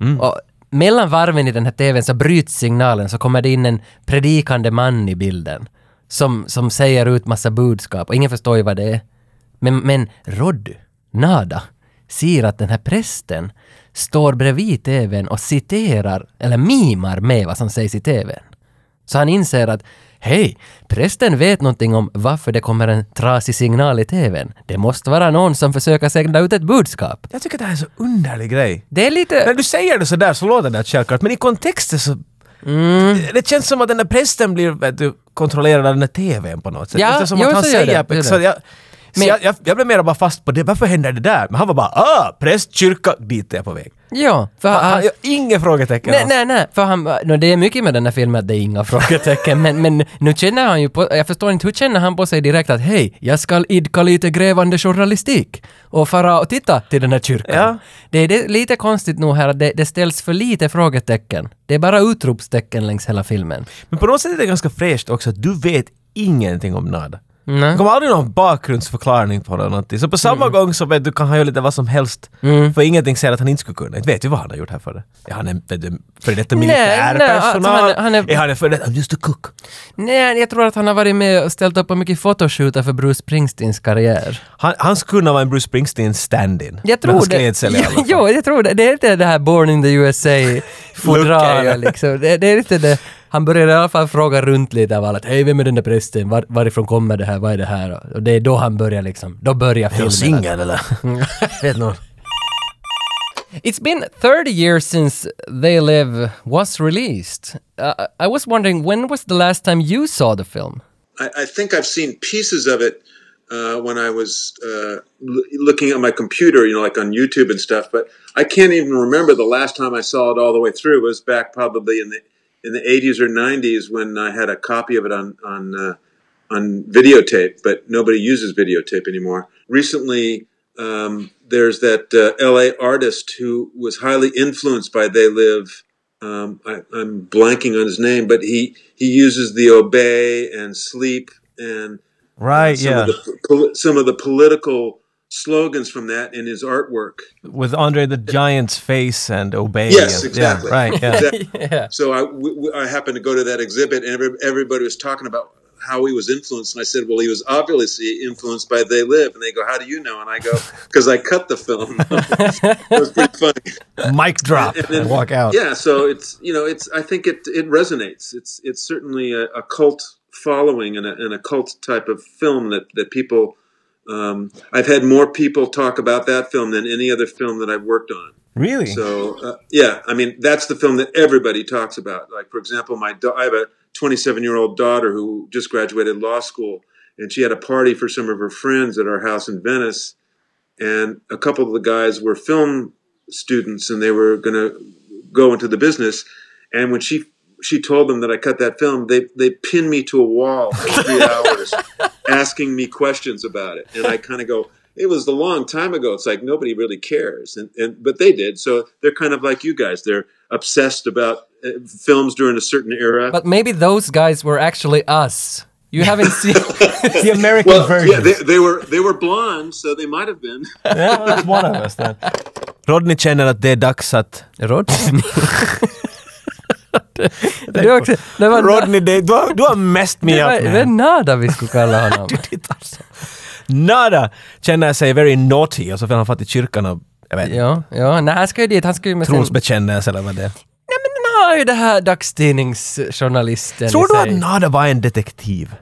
S1: Mm.
S2: Och mellan varven i den här TVn så bryts signalen så kommer det in en predikande man i bilden som, som säger ut massa budskap och ingen förstår ju vad det är. Men, men Roddy, Nada, ser att den här prästen står bredvid TVn och citerar, eller mimar med vad som sägs i TVn. Så han inser att hej, prästen vet någonting om varför det kommer en trasig signal i TVn. Det måste vara någon som försöker sända ut ett budskap.
S1: Jag tycker det här är en så underlig grej.
S2: Det är
S1: När
S2: lite...
S1: du säger det sådär så låter det självklart, men i kontexten så...
S2: Mm.
S1: Det känns som att den där prästen blir vet du, kontrollerad av den där TVn på något sätt.
S2: Ja,
S1: det är som
S2: jo,
S1: att han
S2: så gör det.
S1: säger...
S2: Det är
S1: exakt-
S2: det.
S1: jag, Så jag, jag, jag blev mer bara fast på det. Varför händer det där? Men han var bara ah, prästkyrka, dit är jag på väg.
S2: Ja, för
S1: Han,
S2: han,
S1: han, inga frågetecken.
S2: Ah. Nej,
S1: alls.
S2: nej, nej. För han, no, det är mycket med den här filmen att det är inga frågetecken, men, men nu känner han ju på, jag förstår inte, hur känner han på sig direkt att hej, jag ska idka lite grävande journalistik och fara och titta till den här kyrkan.
S1: Ja.
S2: Det är det, lite konstigt nog här att det, det ställs för lite frågetecken. Det är bara utropstecken längs hela filmen.
S1: Men på något sätt är det ganska fräscht också att du vet ingenting om nada.
S2: Nej. Mm.
S1: Det kommer aldrig någon bakgrundsförklaring på det eller någonting. Så på samma gång så vet du, kan han göra lite vad som helst. För ingenting säger att han inte skulle kunna. Inte vet ju vad han har gjort här för det. Är han en vet du, före detta
S2: Nej, nej, alltså,
S1: militärpersonal?
S2: han är- han är-
S1: är han en före detta just a cook?
S2: Nej, jag tror att han har varit med och ställt upp på mycket fotoshootar för Bruce Springsteens karriär.
S1: Han, han skulle kunna vara en Bruce Springsteen stand-in.
S2: Jag tror
S1: med hans
S2: det.
S1: klädsel i alla fall.
S2: jo, jag tror det. Det är inte det här Born in the USA-fodralet
S1: Lucka, ja.
S2: liksom. Det, det är inte det. Han började i alla fall fråga runt lite av alla. Hej, vem är den där prästen? Var, varifrån kommer det här? Vad är det här? Och det är då han börjar liksom. Då börjar
S1: Är han
S2: filmen. Mm.
S1: singel eller?
S2: Vet någon. It's been 30 years since They Live was released. Uh, I was wondering, when was the last time you saw the film?
S4: I, I think I've seen pieces of it uh, when I was uh, l- looking at my computer, you know, like on YouTube and stuff. But I can't even remember the last time I saw it all the way through. It was back probably in the in the 80s or 90s when I had a copy of it on on uh, on videotape. But nobody uses videotape anymore. Recently. Um, there's that uh, LA artist who was highly influenced by They Live um, I, I'm blanking on his name, but he he uses the obey and sleep and
S1: Right,
S4: some
S1: yeah.
S4: of the poli- some of the political slogans from that in his artwork.
S1: With Andre the Giant's face and Obey.
S4: Yes,
S1: and-
S4: exactly.
S1: Yeah, right, yeah.
S4: Exactly. So I w- w- I happened to go to that exhibit, and every, everybody was talking about how he was influenced. And I said, "Well, he was obviously influenced by They Live." And they go, "How do you know?" And I go, "Because I cut the film." it was pretty funny.
S1: Mic drop and walk out.
S4: Yeah, so it's you know it's I think it it resonates. It's it's certainly a, a cult following and a, and a cult type of film that that people. Um, I've had more people talk about that film than any other film that I've worked on.
S1: Really?
S4: So uh, yeah, I mean that's the film that everybody talks about. Like for example, my da- I have a 27 year old daughter who just graduated law school, and she had a party for some of her friends at our house in Venice, and a couple of the guys were film students, and they were going to go into the business. And when she she told them that I cut that film, they they pinned me to a wall for three hours, asking me questions about it, and I kind of go. It was a long time ago. It's like nobody really cares, and, and but they did. So they're kind of like you guys. They're obsessed about uh, films during a certain era.
S2: But maybe those guys were actually us. You haven't seen...
S1: the American
S4: well,
S1: version.
S4: yeah, they, they were they were blonde, so they might have been.
S1: Rodney känner att det är dags att...
S2: Rodney. det, det, var också, det var,
S1: Rodney, det, du, har, du har mest
S2: det
S1: med
S2: var,
S1: allt
S2: det
S1: med
S2: var
S1: henne.
S2: Nada vi skulle kalla honom.
S1: Titta alltså. Nada känner sig very naughty och så vill han fatta i kyrkan och... Jag vet inte.
S2: ja, ja, nej han ska ju dit, han ska ju med sin...
S1: Trosbekännelse eller vad det är.
S2: Nej men den har ju det här dagstidningsjournalisten
S1: Tror
S2: i
S1: du
S2: sig.
S1: att Nada var en detektiv?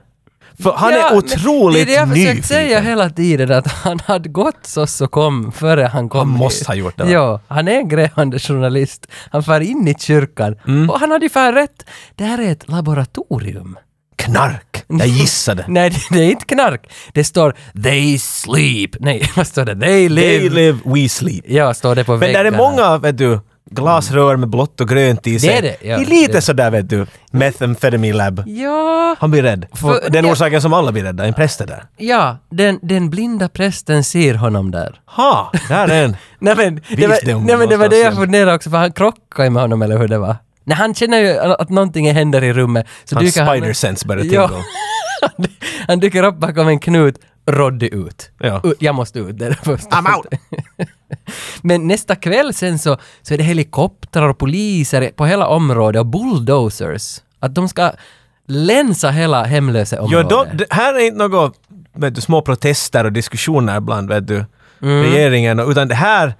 S1: För han
S2: Ja,
S1: är
S2: men
S1: otroligt
S2: Det är det jag
S1: nyfiken.
S2: försökt säga hela tiden, att han hade gått så så kom före han kom
S1: Han måste
S2: hit.
S1: ha gjort det, va?
S2: Ja, han är en grävande journalist. Han far in i kyrkan.
S1: Mm.
S2: Och han hade ju fan rätt. Det här är ett laboratorium.
S1: Knark! Jag gissade.
S2: Nej, det- det är inte knark. Det står “They sleep”. Nej, vad står det? “They live”.
S1: They live, we sleep.
S2: Ja, står det på
S1: Men där
S2: väggarna.
S1: är många, vet du, glasrör med blått och grönt i sig.
S2: är det, ja,
S1: I lite
S2: det.
S1: sådär, vet du, methamphetamine lab.
S2: Ja,
S1: Han blir rädd. För
S2: För-
S1: den
S2: ja.
S1: orsaken som alla blir rädda, en präst är där.
S2: ja den, den blinda prästen ser honom där.
S1: Ha, där är en.
S2: Nej men, det var,
S1: dem
S2: nej, men det, var det jag
S1: någonstans
S2: funderade också, för han krockade med honom, eller hur det var? Nej, han känner ju att någonting händer i rummet. Så
S1: Hans
S2: dyker
S1: spider sense börjar
S2: Ja.
S1: tillgå.
S2: han dyker upp bakom en knut, Roddy ut.
S1: Ja.
S2: U- Jag måste ut, det är det första.
S1: I'm out.
S2: Men nästa kväll sen så, så är det helikoptrar och poliser på hela området och bulldozers. Att de ska länsa hela hemlösa
S1: Ja,
S2: området.
S1: då, det här är inte något, vet du, små protester och diskussioner bland, vet du,
S2: Mm.
S1: regeringen, och- utan det här,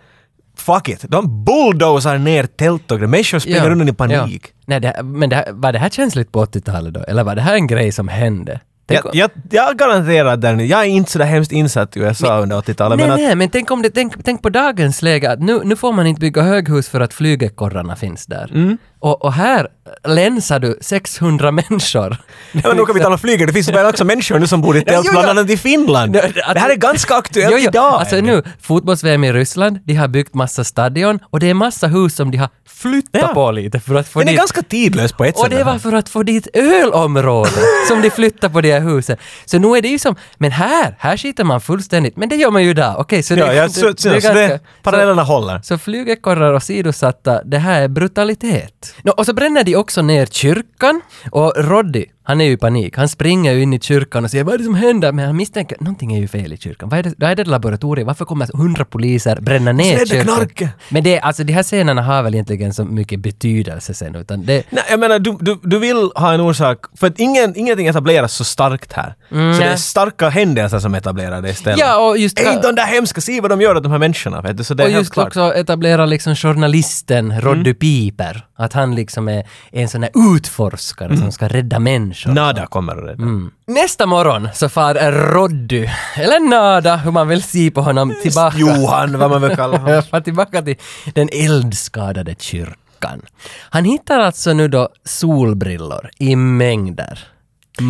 S1: fuck it, de bulldozar ner tält och grejer. Människor springer
S2: Ja,
S1: runt i
S2: ja.
S1: panik.
S2: Nej, det, här- men det, här- var det här känsligt på 80-talet då? Eller var det här en grej som hände? Tänk om-
S1: Jag, jag, jag garanterar Danny, jag är inte så där hemskt insatt i USA under 80-talet,
S2: Nej,
S1: men att
S2: nej, men tänk, om
S1: Mm.
S2: det, tänk, tänk på dagens läge att nu, nu får man inte bygga höghus för att flygekorrarna finns där. Och, och här länsar du 600 människor.
S1: Ja, men nu kan vi tala flyger, det finns väl också människor nu som bor i tält,
S2: jo,
S1: bland
S2: jo.
S1: annat i Finland.
S2: Nej, alltså-
S1: det här är ganska aktuellt idag.
S2: Alltså nu, fotbolls-VM i Ryssland, de har byggt massa stadion och det är massa hus som de har flyttat
S1: Ja.
S2: på lite för att få
S1: Den är
S2: dit...
S1: ganska tidlös på ett sätt.
S2: Och det
S1: den
S2: var
S1: här.
S2: för att få dit ölområde som de flyttar på de här husen. Så nu är det ju som, men här, här skiter man fullständigt, men det gör man ju idag. Okej, så det,
S1: Ja, ja,
S2: det-
S1: så, så,
S2: det är
S1: så det,
S2: ganska-
S1: parallellerna håller.
S2: Så flygekorrar och sidosatta, det här är brutalitet. Nå, och så bränner de också ner kyrkan och Roddy, han är ju i panik. Han springer ju in i kyrkan och säger vad är det som händer? Men han misstänker någonting är ju fel i kyrkan. Vad är det, vad är det laboratorium? Varför kommer hundra poliser bränna ner
S1: Så är det
S2: kyrkan?
S1: knarket.
S2: Men det, är- alltså, de här scenerna har väl egentligen så mycket betydelse sen utan det...
S1: Nej, jag menar, du, du, du vill ha en orsak, för att ingen, ingenting etableras så starkt här. så det är
S2: Mm. nej.
S1: starka händelser som etablerar det istället.
S2: Ja, och just-
S1: Är inte de där hemska, se vad de gör åt de här människorna, vet du? Så det är
S2: Och
S1: helt
S2: just
S1: klart. Mm.
S2: också etablera liksom journalisten Roddy Piper. Att han liksom är en sån här utforskare
S1: Mm.
S2: som ska rädda människor.
S1: Nada kommer att rädda.
S2: Mm. Nästa morgon så far Roddy, eller Nada, hur man vill se på honom, tillbaka.
S1: Johan, vad man vill kalla honom.
S2: far tillbaka till den eldskadade kyrkan. Han hittar alltså nu då solbrillor i mängder.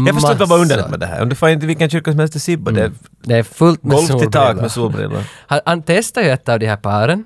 S1: Jag förstår inte vad var
S2: Massor.
S1: underligt med det här. Om du får inte vilken kyrka som helst i Sibbo, det är
S2: Det är fullt med
S1: golv till tak
S2: solbrillor.
S1: med solbrillor.
S2: Han, han testar ju ett av de här paren.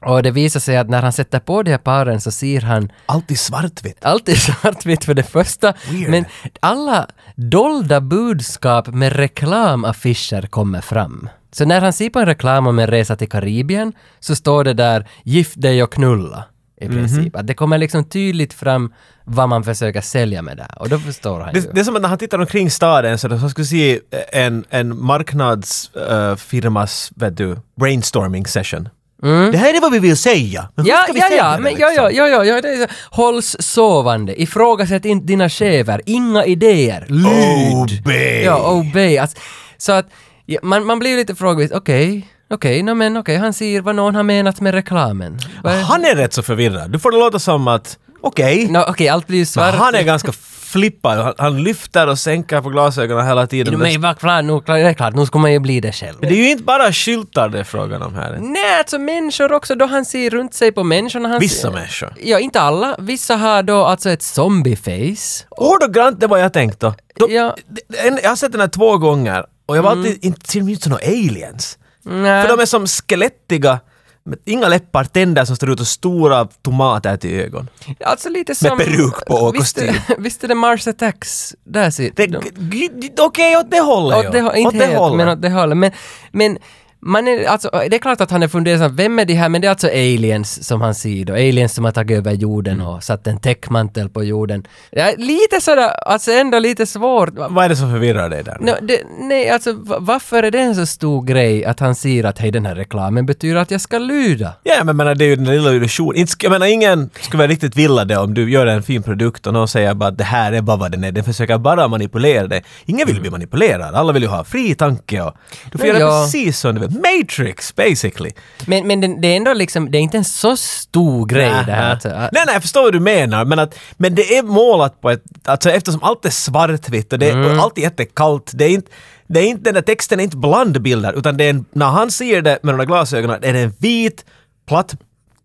S2: Och det visar sig att när han sätter på de här paren så ser han
S1: Allt i svartvitt.
S2: Allt är svartvitt för det första,
S1: Weird.
S2: men alla dolda budskap med reklamaffischer kommer fram. Så när han ser på en reklam om en resa till Karibien så står det där “gift dig och knulla” i princip.
S1: Mhm.
S2: Att det kommer liksom tydligt fram vad man försöker sälja med det här. Och då förstår han ju.
S1: Det, det är som att när han tittar omkring staden så han skulle se en, en marknadsfirmas, vet du, brainstorming session. Det här är vad vi vill säga. Men hur
S2: Ja,
S1: ska vi
S2: ja,
S1: säga
S2: ja,
S1: det,
S2: men ja,
S1: liksom?
S2: ja, ja, ja, ja, det är så. Hålls sovande, ifrågasätt inte dina chefer, inga idéer, lyd.
S1: Obey.
S2: Ja, obey. Alltså, så att ja, man, man blir ju lite frågvis, okej, okej, nå men okej, han ser vad någon har menat med reklamen. Vad är-
S1: Han är rätt så förvirrad. Du får det låta som att, okej,
S2: Nå, okej, allt blir ju
S1: men
S2: svart.
S1: han är ganska flippad. Han, han lyfter och sänker på glasögonen hela tiden.
S2: Men
S1: Men
S2: vad klart, nu, det är klart, nu ska man ju bli det själv.
S1: det är ju inte bara skyltar det är frågan om här.
S2: Nej, alltså människor också, då han ser runt sig på människorna. Han
S1: Vissa
S2: ser,
S1: människor.
S2: Ja, inte alla. Vissa har då alltså ett zombie-face.
S1: Ordagrant det var jag tänkt då. De,
S2: Ja. Mm.
S1: de- en- Jag har sett den här två gånger och jag var alltid, inte, ser de ut som några aliens?
S2: Nej.
S1: För de är som skelettiga, med inga läppar, tänder som står ut och stora tomater till ögon.
S2: Alltså lite som...
S1: peruk på och
S2: Visst är-
S1: kostym.
S2: Visst är det Mars Attacks? Där ser
S1: Det-
S2: de-
S1: g- g- Okej, åt det hållet
S2: Åt det, hå- inte helt, men åt det hållet. Men, men man är, alltså, det är klart att han är fundersam, vem är de här? Men det är alltså aliens som han ser då. Aliens som har tagit över
S1: Mm.
S2: jorden och satt en täckmantel på jorden. Ja, lite sådär, alltså ändå lite svårt. Va-
S1: Vad är det som förvirrar dig där?
S2: Nå, det, nej, alltså va- varför är det en så stor grej att han ser att hej den här reklamen betyder att jag ska lyda?
S1: Ja, men menar, det är ju den lilla illusionen. Inte sk- Jag menar, ingen skulle vara riktigt vilja det om du gör en fin produkt och någon säger bara att det här är bara vad den är. Den försöker bara manipulera dig. Ingen vill bli manipulerad. Alla vill ju ha fri tanke och du får
S2: Mm. Nej,
S1: göra
S2: ja.
S1: precis som du vill. Matrix, basically.
S2: Men, men det, det är ändå liksom, det är inte en så stor grej det här. Alltså,
S1: Nej, nej, jag förstår vad du menar. Men, att, men det är målat på ett... Alltså eftersom allt är svartvitt och, det,
S2: Mm.
S1: och allt är jättekallt. Det är inte, det är inte, den där texten är inte blandbilder, utan det är en, när han ser det med de där glasögonen är det en vit, platt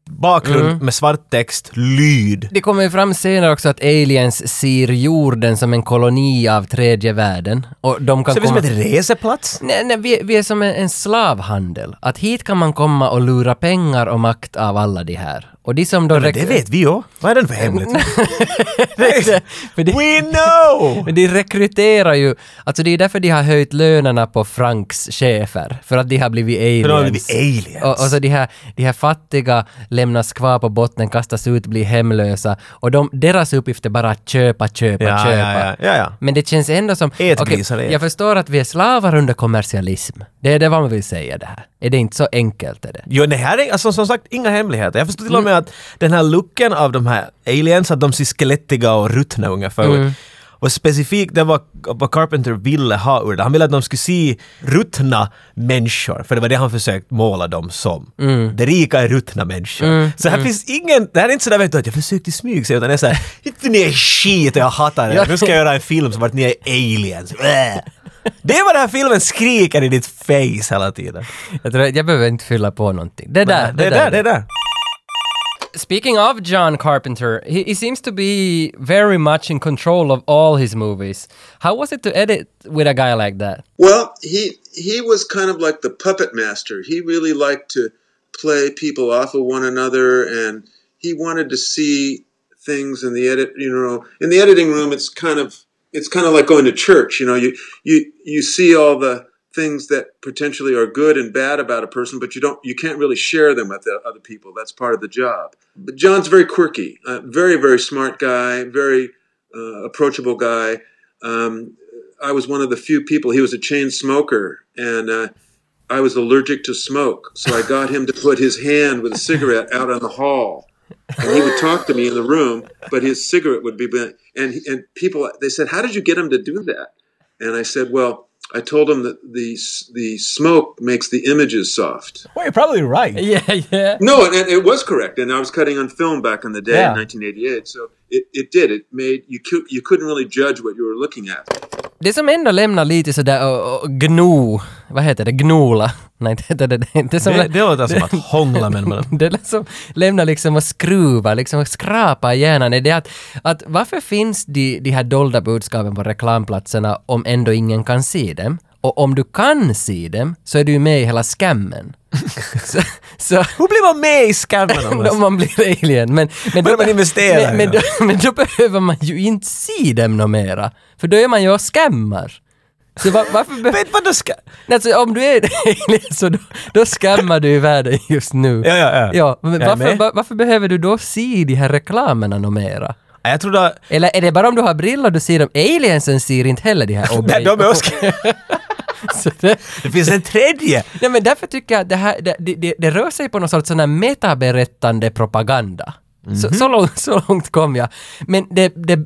S1: bakgrund
S2: Mm.
S1: med svart text, lyd.
S2: Det kommer ju fram senare också att aliens ser jorden som en koloni av tredje världen. Och de kan
S1: Så det är som
S2: komma...
S1: ett reseplats?
S2: Nej, nej, vi, vi är som en, en slavhandel. Att hit kan man komma och lura pengar och makt av alla de här. Och de som då...
S1: Men det vet vi ju. Vad är den för hemligt?
S2: för det-
S1: We know!
S2: Men de rekryterar ju, alltså det är därför de har höjt lönerna på Franks chefer, för att de har blivit aliens.
S1: För de har blivit aliens.
S2: Och, och så de här, de här fattiga lämnas kvar på botten, kastas ut, blir hemlösa. Och de, deras uppgift är bara att köpa, köpa,
S1: Ja,
S2: köpa.
S1: ja, ja, ja, ja.
S2: Men det känns ändå som...
S1: Ät
S2: okej,
S1: grisar, ät.
S2: jag förstår att vi är slavar under kommersialism. Det är det vad man vill säga det här. Är det inte så enkelt? Är det?
S1: Jo, det här är alltså, som sagt inga hemligheter. Jag förstår till och med
S2: Mm.
S1: att den här looken av de här aliens, att de ser skelettiga och ruttna ungefär
S2: Mm.
S1: ut. Och specifikt det var vad Carpenter ville ha ur det. Han ville att de skulle se ruttna människor, för det var det han försökte måla dem som.
S2: Mm.
S1: De rika är ruttna människor. Så här finns ingen, det här är inte sådär vet du, att jag försökte smyga sig, utan det är såhär, inte ni är skit och jag hatar er. Nu ska jag göra en film som att ni är aliens. Äh. Det är vad den här filmen skriker i ditt face hela tiden.
S2: Jag, tror, jag behöver inte fylla på någonting. Det är där.
S1: Det är där, det är där.
S2: Speaking of John Carpenter, he, he seems to be very much in control of all his movies. How was it to edit with a guy like that?
S4: Well, he he was kind of like the puppet master. He really liked to play people off of one another, and he wanted to see things in the edit. You know, in the editing room, it's kind of it's kind of like going to church. You know, you you you see all the things that potentially are good and bad about a person, but you don't you can't really share them with the other people. That's part of the job. But John's very quirky, uh, very very smart guy, very uh, approachable guy. Um, I was one of the few people. He was a chain smoker, and uh, I was allergic to smoke, so I got him to put his hand with a cigarette out on the hall. and he would talk to me in the room, but his cigarette would be bent. And and people they said, "How did you get him to do that?" And I said, "Well, I told him that the the smoke makes the images soft."
S1: Well, you're probably right.
S2: Yeah, yeah.
S4: No, and, and it was correct. And I was cutting on film back in the day,
S1: Yeah.
S4: in 1988, so it, it did. It made you cou- you couldn't really judge what you were looking at.
S2: Det som ändå lämnar lite sådär och, och gno... uh, Vad heter det? Gnola? Nej, det heter det inte. Som
S1: Det, det låter som att hångla med en
S2: Det liksom lämnar liksom och skruvar, liksom och skrapar i hjärnan. Är det att, att varför finns de, de här dolda budskapen på reklamplatserna om ändå ingen kan se dem? Och om du kan se dem så är du ju med i hela scammen. så, så
S1: Hur blir man med i skammen om
S2: om man blir alien. Men, men,
S1: Börjar alltså- man investera
S2: men, men,
S1: i
S2: då, men då behöver man ju inte se dem nå mera. För då är man ju och scammar. Så va- varför behöver
S1: Men vadå ska...
S2: Nej, Alltså om du är en alien så då, då skammar du i världen just nu.
S1: Ja, ja, ja.
S2: ja men
S1: Jag är
S2: varför,
S1: med.
S2: va- varför behöver du då se de här reklamerna nå mera?
S1: Ja, Jag trodde... att-
S2: Eller är det bara om du har brillor du ser dem? Aliensen ser inte heller de här
S1: Nej, de är osk...
S2: Så det,
S1: Det finns en tredje!
S2: Nej men därför tycker jag att det här, det, det, det, det rör sig på någon sorts sån här metaberättande propaganda.
S1: Mhm.
S2: Så, så, långt, så långt kom jag. Men det, det,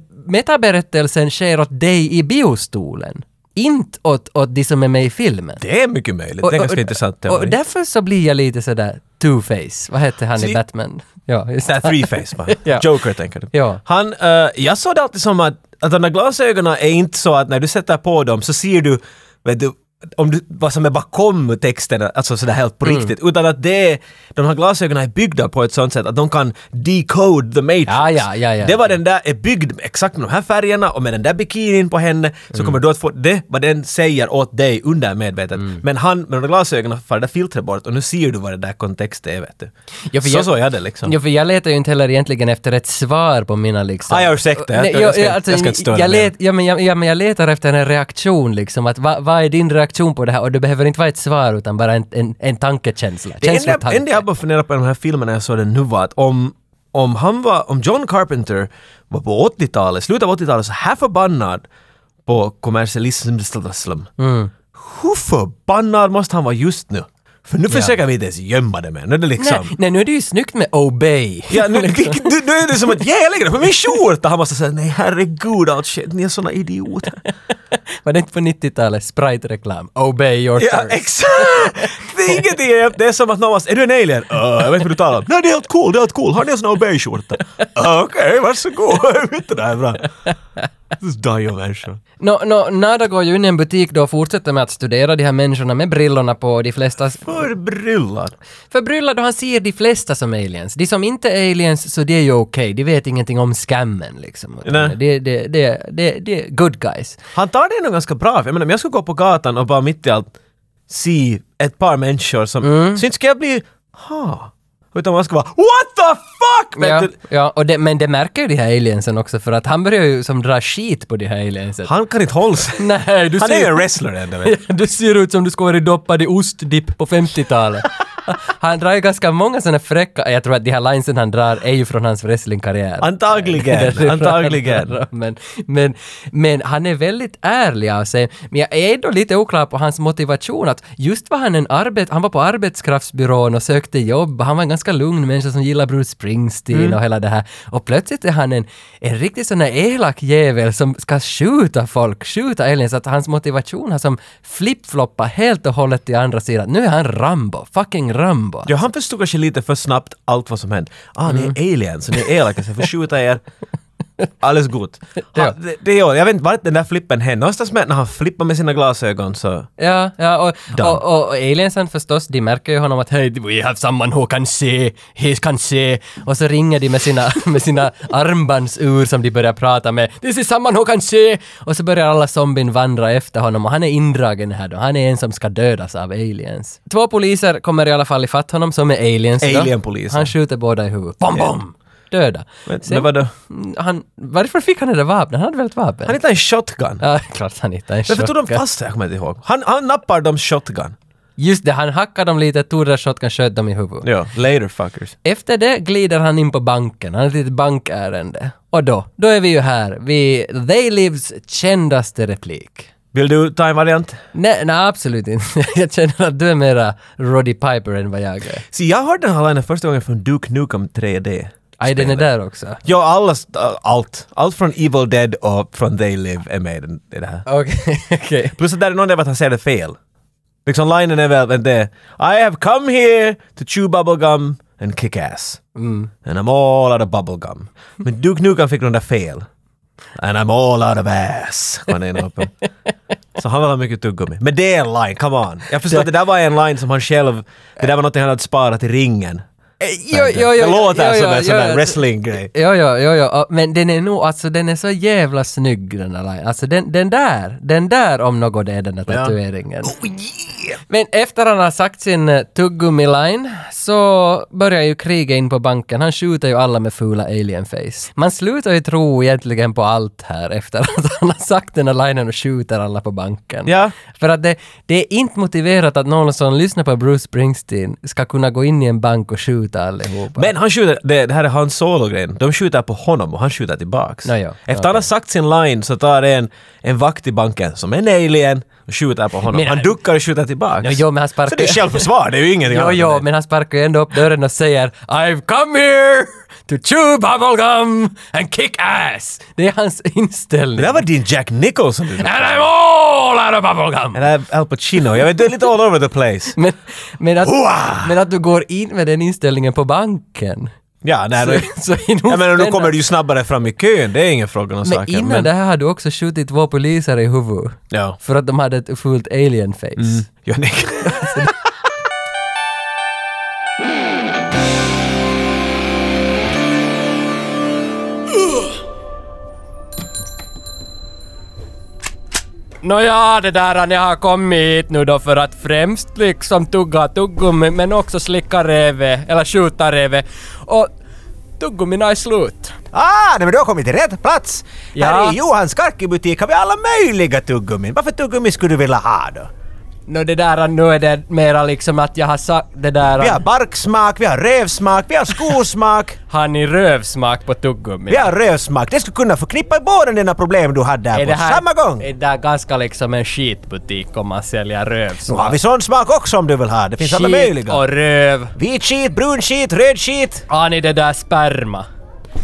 S2: metaberättelsen sker åt dig i biostolen. Inte åt, åt de som är med i filmen.
S1: Det är mycket möjligt. Det är ganska intressant
S2: och, och
S1: teori.
S2: därför så blir jag lite sådär two-face. Vad hette han
S1: Så-
S2: i Batman? Ja, just
S1: Det här
S2: det.
S1: three-face man.
S2: Ja.
S1: Joker tänker du.
S2: Ja.
S1: Han, eh, jag såg det alltid som att, att de där glasögonen är inte så att när du sätter på dem så ser du, vet du, om du, vad som är bakom texten, alltså sådär helt på
S2: Mm.
S1: riktigt. Utan att det är, de här glasögonen är byggda på ett sånt sätt att de kan decode the matrix.
S2: Ja, ja, ja, ja.
S1: Det var den där, är byggd exakt med de här färgerna och med den där bikinin på henne så
S2: Mm.
S1: kommer du att få det, vad den säger åt dig under medvetet.
S2: Mm.
S1: Men han, med de där glasögonen, far det där filtret bort och nu ser du vad det där kontext är, vet du.
S2: Ja, för
S1: så
S2: jag-
S1: såg jag det liksom.
S2: Ja, för jag letar ju inte heller egentligen efter ett svar på mina liksom...
S1: Ah, ja, ursäkta. Jag-
S2: Nej, alltså,
S1: jag ska- jag ska inte störa
S2: jag
S1: mer.
S2: let, ja, men jag, ja, men jag letar efter en reaktion liksom. Att, va, vad är din reaktion på det här? Och det behöver inte vara ett svar utan bara en, en, en tankekänsla.
S1: Det
S2: Känsla
S1: enda,
S2: tanke.
S1: enda jag bara funderar på i de här filmerna jag såg den nu var att om, om han var, om John Carpenter var på 80-talet, slutet av 80-talet så här förbannad på kommersialism, hur förbannad måste han vara just nu? För nu försöker vi inte ens gömma det med. Nu är det liksom...
S2: nej, nej, nu är det ju snyggt med Obey.
S1: Ja, nu, vilket- nu, nu är det som att yeah, jag lägger det på min skjorta! Han måste säga nej herregud allt shit, ni är såna idioter.
S2: Var det inte på 90-talet? Sprite-reklam. Obey your
S1: Ja,
S2: thirst.
S1: exakt! Det är ingenting, jag- det är som att någon måste, är du en alien? Uh, jag vet inte vad du talar om. Nej, det är helt cool, det är helt cool. Har ni en sån här beige-skjorta? "Ah, Okej, varsågod. Jag vet inte, det här är bra. Die of människor.
S2: Nå, nå, Nada går ju in i en butik då och fortsätter med att studera de här människorna med brillorna på. De flesta
S1: Förbryllad.
S2: förbryllad och han ser de flesta som aliens. De som inte är aliens, så det är ju okej. De vet ingenting om skammen liksom.
S1: Nej.
S2: Det, det, det, det, det är good guys.
S1: Han tar det nog ganska bra. Jag menar, om jag skulle gå på gatan och bara mitt i allt se ett par människor som...
S2: Mm.
S1: Så inte ska jag bli... Ha. Utan man ska vara What the fuck! Vet
S2: Ja,
S1: du?
S2: ja och det, men det märker ju de här aliensen också för att han börjar ju som dra skit på de här aliensen.
S1: Han kan inte hålla sig.
S2: Nej, du
S1: Han är ju
S2: ser,
S1: en wrestler ändå. vet du.
S2: du ser ut som du skulle varit doppad i ostdipp på 50-talet. Han drar ju ganska många sådana fräcka, jag tror att de här linesen han drar är ju från hans wrestlingkarriär.
S1: Antagligen. Antagligen.
S2: men, men, men han är väldigt ärlig av sig. Men jag är ändå lite oklar på hans motivation att just var han en arbet... Han var på arbetskraftsbyrån och sökte jobb. Han var en ganska lugn människa som gillar Bruce Springsteen
S1: Mm.
S2: och hela det här. Och plötsligt är han en, en riktigt sån här elak jävel som ska skjuta folk, skjuta aliens. Att hans motivation har som flip-floppat helt och hållet till andra sidan. Nu är han Rambo, fucking Rambo.
S1: Ja, han
S2: Mm.
S1: förstod kanske lite för snabbt allt vad som hände. Ah, ni är aliens, så ni är elaka, så jag får skjuta er. Alldeles gott.
S2: Ja.
S1: Ha, det, det gör, jag vet inte vart den där flippen hände. Någonstans med, när han flippar med sina glasögon så...
S2: Ja, ja och,
S1: Done.
S2: och, och, och aliensen förstås, de märker ju honom att hey, we have someone who can see, he can see. Och så ringer de med sina, med sina armbandsur som de börjar prata med. This is someone who can see! Och så börjar alla zombien vandra efter honom och han är indragen här då. Han är en som ska dödas av aliens. Två poliser kommer i alla fall ifatt honom som är aliens då.
S1: Alienpoliser.
S2: Han skjuter båda i huvudet. Bom, bom! Döda.
S1: Men,
S2: Sen-
S1: men
S2: Mm,
S1: vadå?
S2: han, varför fick han det där vapnet? Han hade väl ett vapen?
S1: Han hittade en shotgun.
S2: Ja, klart han hittade en
S1: Varför tog de
S2: shotgun.
S1: fast det? Jag kommer inte ihåg. Han, han nappar dem shotgun.
S2: Just det, han hackade dem lite, tog deras shotgun, sköt dem i huvudet.
S1: Ja, later fuckers.
S2: Efter det glider han in på banken, han har ett litet bankärende. Och då, då är vi ju här vid They Lives kändaste replik.
S1: Vill du ta en variant?
S2: Nej, nej absolut inte. Jag känner att du är mera Roddy Piper än vad jag är.
S1: Se, jag hörde den här linen första gången från Duke Nukem 3D.
S2: Aj, den är där också.
S1: Ja, alla, allt. Allt från Evil Dead och från They Live är med i den- i det här.
S2: Okej, okej.
S1: Plus att där är någon där att han säger det fel. Liksom linen är väl det I have come here to chew bubblegum and kick ass.
S2: Mm.
S1: And I'm all out of bubblegum. Men Duke Nukem fick den där fel. And I'm all out of ass. kom den uppe. Så han vill ha mycket tuggummi. Men det är en line, come on. Jag förstår att det där var en line som han själv, det där var något han hade sparat i ringen.
S2: Eh, Jo, jo, jo.
S1: det låter som en sån där
S2: wrestling.
S1: wrestling-grej.
S2: Jo, jo, jo, jo, ja, men den är nog, alltså den är så jävla snygg den där line. Alltså den, den där, den där om något det är den där tatueringen. Men efter han har sagt sin eh, tuggummi-line så börjar ju kriget in på banken. Han skjuter ju alla med fula alien-face. Man slutar ju tro egentligen på allt här efter att han har sagt den här linen och skjuter alla på banken.
S1: Ja.
S2: För att det, det är inte motiverat att någon som lyssnar på Bruce Springsteen ska kunna gå in i en bank och skjuta allihopa.
S1: Men han skjuter, det, det här är hans solo-grejen. De skjuter på honom och han skjuter tillbaks.
S2: Ja, ja.
S1: Efter han har sagt sin line så tar en, en vakt i banken som en alien och skjuter på honom.
S2: Men-
S1: han duckar och skjuter tillbaks.
S2: Ja, jo, men han sparkar-
S1: Så det är självförsvar, det är ju ingenting
S2: Jo,
S1: annat
S2: jo,
S1: än det.
S2: men han sparkar ju ändå upp dörren och säger I've come here to chew bubblegum and kick ass. Det är hans inställning.
S1: Det där var din Jack Nicholson. du.
S2: And I'm all out of bubblegum.
S1: Det där är Al Pacino. Jag vet, du är lite all over the place.
S2: Men, men, att,
S1: Hua!
S2: men att du går in med den inställningen på banken.
S1: Ja, nej, då,
S2: Så, så är nog
S1: jag menar, nu
S2: spännande.
S1: kommer du ju snabbare fram i kön, det är ingen fråga om
S2: Men
S1: saken.
S2: innan det här har du också skjutit två poliser i huvudet.
S1: Ja.
S2: För att de hade ett fullt alien-face.
S1: Ja, nej.
S2: Nåja, det där han jag har kommit hit nu då för att främst liksom tugga tuggummi men också slicka reve, eller skjuta reve. Och tuggummina är slut.
S1: Ah, nej, men du har kommit till rätt plats!
S2: Ja.
S1: Här i Johans Karki-butik har vi alla möjliga tuggummin. Varför tuggummi skulle du vilja ha då?
S2: Nå det där han, nu är det mera liksom att jag har sagt det där
S1: Vi har
S2: han,
S1: barksmak, vi har rövsmak, vi har skosmak,
S2: han i rövsmak på tuggummi.
S1: vi har rövsmak. Det skulle kunna förknippa båda dina problem du hade där på samma gång.
S2: Är det där ganska liksom en skitbutik om man
S1: Nu har
S2: säljer rövsmak?
S1: vi sån smak också om du vill ha. Det finns alla
S2: Skit
S1: möjliga.
S2: och röv.
S1: Vit skit, brun skit, röd skit.
S2: Har ni det där sperma?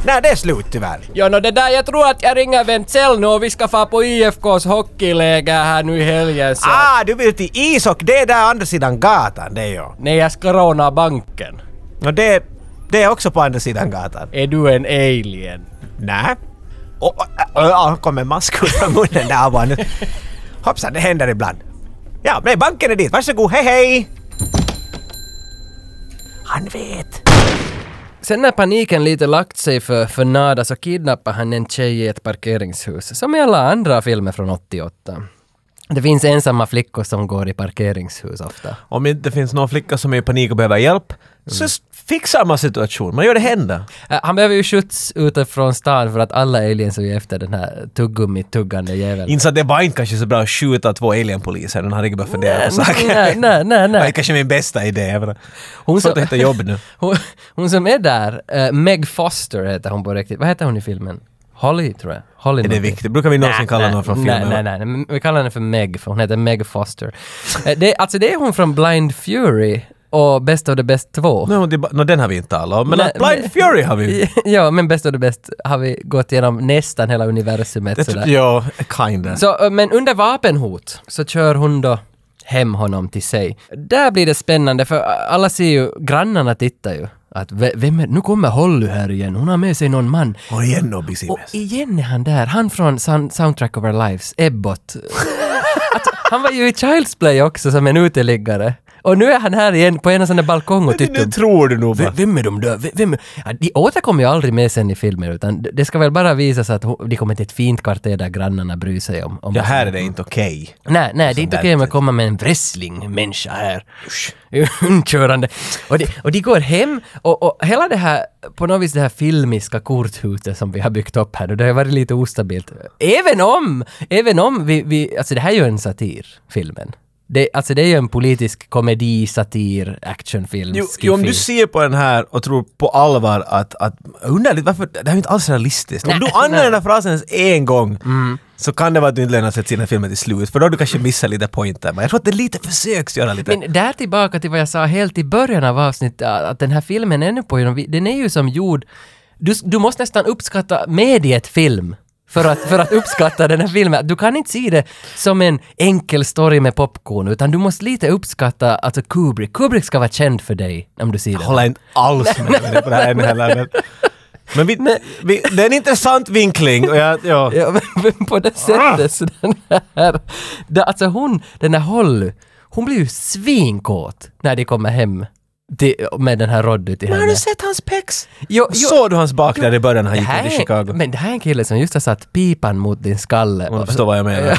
S1: Nej, det är slut tyvärr.
S2: Ja, no det där, jag tror att jag ringer Wentzell nu och vi ska få på IFKs hockeyläger här nu i helgen så... att-
S1: Ah, du vill till is och det är där andra sidan gatan, det är jag.
S2: Nej, jag ska råna banken.
S1: Och det, det är också på andra sidan gatan.
S2: Är du en alien?
S1: Nej. Och han kom en mask ut från munnen där var nu. Hoppsan, det händer ibland. Ja, nej, banken är dit. Varsågod, hej hej! Han vet.
S2: Sen när paniken lite lagt sig för, för Nada så kidnappar han en tjej i ett parkeringshus, som i alla andra filmer från 88. Det finns ensamma flickor som går i parkeringshus ofta.
S1: Om inte finns någon flicka som är i panik och behöver hjälp, så s- fixar man situation. Man gör det hända.
S2: Äh, Han behöver ju skjuts utifrån stan för att alla aliens är ju efter den här tuggummi-tuggande jäveln.
S1: Inser att det var inte kanske så bra att skjuta två alienpoliser. Den hade inte börjat fundera på saken.
S2: Nej, nej, nej,
S1: Det
S2: nej.
S1: var kanske min bästa idé. jag menar.
S2: Hon
S1: Svårt
S2: som-
S1: att hitta jobb nu.
S2: Hon, hon som är där, eh, Meg Foster heter hon på riktigt. Vad heter hon i filmen? Holly, tror jag. Holly
S1: Är det
S2: någonting.
S1: viktigt? Brukar vi någonsin kalla
S2: Nej,
S1: någon från
S2: nej,
S1: filmen?
S2: Nej, nej, nej. Men Vi kallar henne för Meg, för hon heter Meg Foster. Eh, det, alltså det är hon från Blind Fury och Best of the Best 2.
S1: Nå, det är bara- nå, den har vi inte talat om. Men
S2: Nej,
S1: att Blind
S2: men-
S1: Fury har vi
S2: ja, men Best of the Best har vi gått igenom nästan hela universumet
S1: Det
S2: sådär.
S1: tr- Ja, kinda.
S2: Så, eh, men under vapenhot så kör hon då hem honom till sig. Där blir det spännande för alla ser ju, grannarna tittar ju. Att ve- vem är, nu kommer Holly här igen, hon har med sig någon man.
S1: Och igen då, Bissimes.
S2: Och igen är han där, han från Sound- Soundtrack of Our Lives, Ebbot. alltså, han var ju i Child's Play också som en uteliggare. Och nu är han här igen på en sån där balkong och tittar.
S1: Nu tror du nog
S2: V-
S1: va?
S2: Vem är de där? V- Vem är... Ja, de återkommer ju aldrig med sen i filmer utan d- det ska väl bara visas att ho- de kommer till ett fint kvarter där grannarna bryr sig om... om
S1: Ja, här är det inte okej.
S2: Nej, nej, det är inte
S1: där
S2: okej med
S1: typ.
S2: att komma med en wrestling-människa här. Körande. Och de, och de går hem och, och hela det här, på något vis det här filmiska korthuset som vi har byggt upp här nu, det har varit lite ostabilt. Även om, även om vi, vi alltså det här är ju en satir, filmen. Det, alltså det är ju en politisk komedi, satir, actionfilm,
S1: Jo, jo, om du ser på den här och tror på allvar att, att underligt, varför, det här är ju inte alls realistiskt. Om du använder den här frasen ens en gång så kan det vara att du inte lämnar sett sina filmen till slut, för då har du kanske missat lite pointer. Men jag tror att det är lite försöks göra lite.
S2: Men där tillbaka till vad jag sa helt i början av avsnittet, att den här filmen är nu på genom, den är ju som gjord... Du, du måste nästan uppskatta mediet film för att, för att uppskatta den här filmen. Du kan inte se det som en enkel story med popcorn, utan du måste lite uppskatta alltså Kubrick. Kubrick ska vara känd för dig om du ser
S1: Jag
S2: den.
S1: håller inte alls med dig på det här ännu heller. Men, men vi, vi, det är en intressant vinkling och jag, ja.
S2: Ja, men- men på
S1: Ah!
S2: det sättet så den här... Det, alltså hon, den här Holly, hon blir ju svinkåt när de kommer hem till, med den här Roddy till henne.
S1: Har du sett hans pex?
S2: Jo, jo.
S1: Såg du hans bak där i början när han
S2: Det
S1: gick
S2: här
S1: ut i
S2: är-
S1: Chicago?
S2: Men det här är en kille som just har satt pipan mot din skalle
S1: Om du
S2: och,
S1: förstår vad jag menar.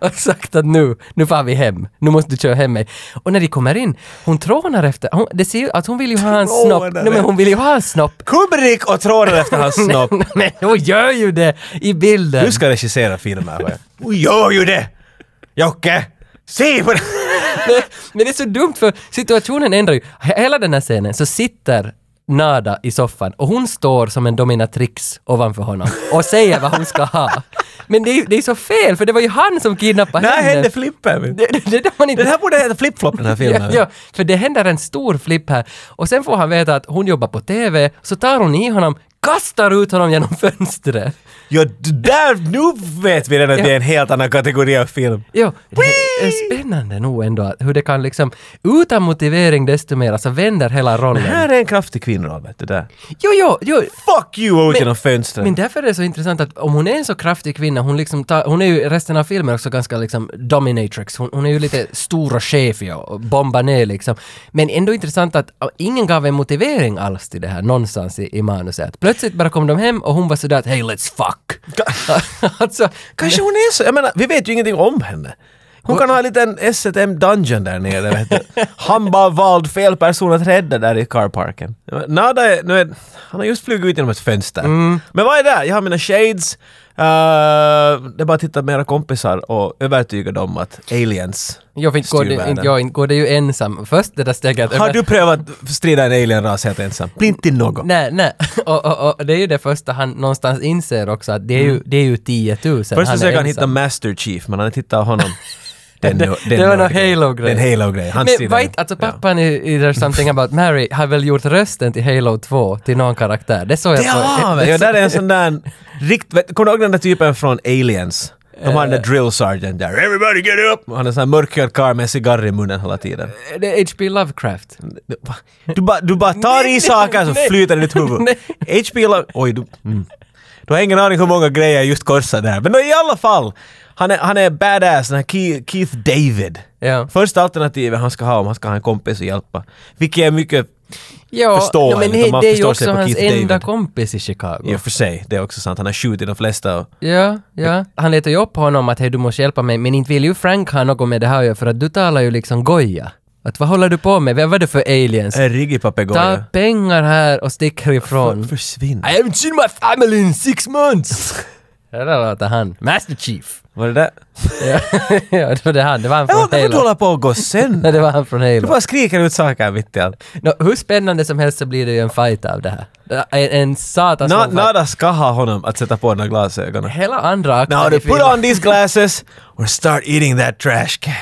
S2: och sagt att nu, nu far vi hem, nu måste du köra hem mig. Och när de kommer in, hon trånar efter, hon, det ser ju att hon vill ju ha hans
S1: Trånar
S2: snopp. Nej men hon vill ju ha hans snopp.
S1: Kubrick och trådar efter hans snopp.
S2: Men hon gör ju det i bilden.
S1: Du ska regissera filmer. va? Och gör ju det! Jocke! Se på det!
S2: Nej, men det är så dumt för situationen ändrar ju. Hela den här scenen så sitter Nada i soffan och hon står som en dominatrix ovanför honom och säger vad hon ska ha. Men det är, det är så fel för det var ju han som kidnappade
S1: När
S2: henne.
S1: hände flippen?
S2: Det, det, det, där man inte...
S1: Den här borde heta Flip-Flop den här filmen.
S2: Ja, ja, för det händer en stor flipp här. Och sen får han veta att hon jobbar på TV, så tar hon i honom, kastar ut honom genom fönstret.
S1: Ja, d- där, nu vet vi redan att
S2: Ja.
S1: det är en helt annan kategori av film.
S2: Jo, det är spännande nog ändå att hur det kan liksom, utan motivering desto mer, alltså vänder hela rollen.
S1: Här är en kraftig kvinnoroll, vet du där.
S2: Jo, jo, jo.
S1: Fuck you ut
S2: Men-
S1: genom fönstret!
S2: Men därför är det så intressant att om hon är en så kraftig kvinna, hon, liksom tar, hon är ju i resten av filmen också ganska liksom dominatrix, hon, hon är ju lite stor och chefig och bombar ner liksom. Men ändå intressant att äh, ingen gav en motivering alls till det här någonstans i, i manuset. Att Plötsligt bara kom de hem och hon var sådär att “Hey, let's fuck”. alltså,
S1: Kanske hon är så. Jag menar, vi vet ju ingenting om henne. Hon kan ha en liten S&M dungeon där nere. Vet du. Han bara valde fel person att rädda där i carparken. Nada är, nu är, han har just flugit ut genom ett fönster.
S2: Mm.
S1: Men vad är det? Jag har mina shades. eh, det är bara att titta på era kompisar och övertyga dem att aliens
S2: jag vet inte, går
S1: styr
S2: det,
S1: världen.
S2: inte, jag, inte går det ju ensam. Först det där steget.
S1: Har du prövat strida en alienras helt ensam? Bli inte någon.
S2: Nej, nej. Och, och, och det är ju det första han någonstans inser också att det är ju, det är ju 10 000.
S1: Först
S2: är
S1: försöker Mm. han
S2: ensam.
S1: hitta Master Chief, men han tittar honom. Den, den,
S2: det var någon
S1: nördgrej.
S2: Halo-grej.
S1: Den Halo-grej. Han
S2: Men
S1: strider
S2: var
S1: den.
S2: inte, alltså
S1: Ja.
S2: pappan i, i There's Something About Mary har väl gjort rösten till Halo 2 till någon karaktär? Det såg jag
S1: Det har vi! Ja, där är en sån där... Rikt, vet- kommer du ihåg den där typen från Aliens? De har den
S2: Eh.
S1: där drill sergeant där. Everybody get up! Och Han är en sån här mörkhyad karl med en cigarr i munnen hela tiden.
S2: Det är H.P. Lovecraft.
S1: Du bara du bara tar
S2: Nej,
S1: i saker så
S2: nej.
S1: flyter det i ditt huvud. HP la... Oj, du... Mm. Du har ingen aning hur många grejer jag just korsade där. Men då i alla fall! Han är, han är badass, den här Ke- Keith David.
S2: Ja.
S1: Första alternativet han ska ha om han ska ha en kompis och hjälpa. Vilket är mycket
S2: Ja,
S1: Förstår
S2: ja, men
S1: en,
S2: det,
S1: om man
S2: det är ju
S1: förstår sig
S2: också
S1: på
S2: hans
S1: Keith David.
S2: enda kompis i Chicago.
S1: i och för sig. Det är också sant. Han har skjutit de flesta och...
S2: Ja, ja. Han letar ju upp honom att hej du måste hjälpa mig, men inte vill ju Frank ha något med det här att göra, för att du talar ju liksom goja. Att vad håller du på med? Vad var det för aliens?
S1: En riggig
S2: Ta
S1: papegoja.
S2: pengar här och stick härifrån.
S1: Försvinn.
S2: I haven't seen my family in six months! Det där låter han. Master Chief.
S1: Var det där?
S2: ja, ja, det var det han. Det var han
S1: Ja,
S2: från
S1: varför du
S2: Halo.
S1: håller på och gå sen?
S2: Nej, det var han från
S1: Du
S2: Halo.
S1: bara skriker ut saker mitt i allt.
S2: Nå, hur spännande som helst så blir det ju en fight av det här. En, en satans...
S1: Na,
S2: lång-
S1: Nada ska ha honom att sätta på de där glasögonen.
S2: Hela andra akten...
S1: Now
S2: i
S1: they put
S2: filmen-
S1: on these glasses or start eating that trash can.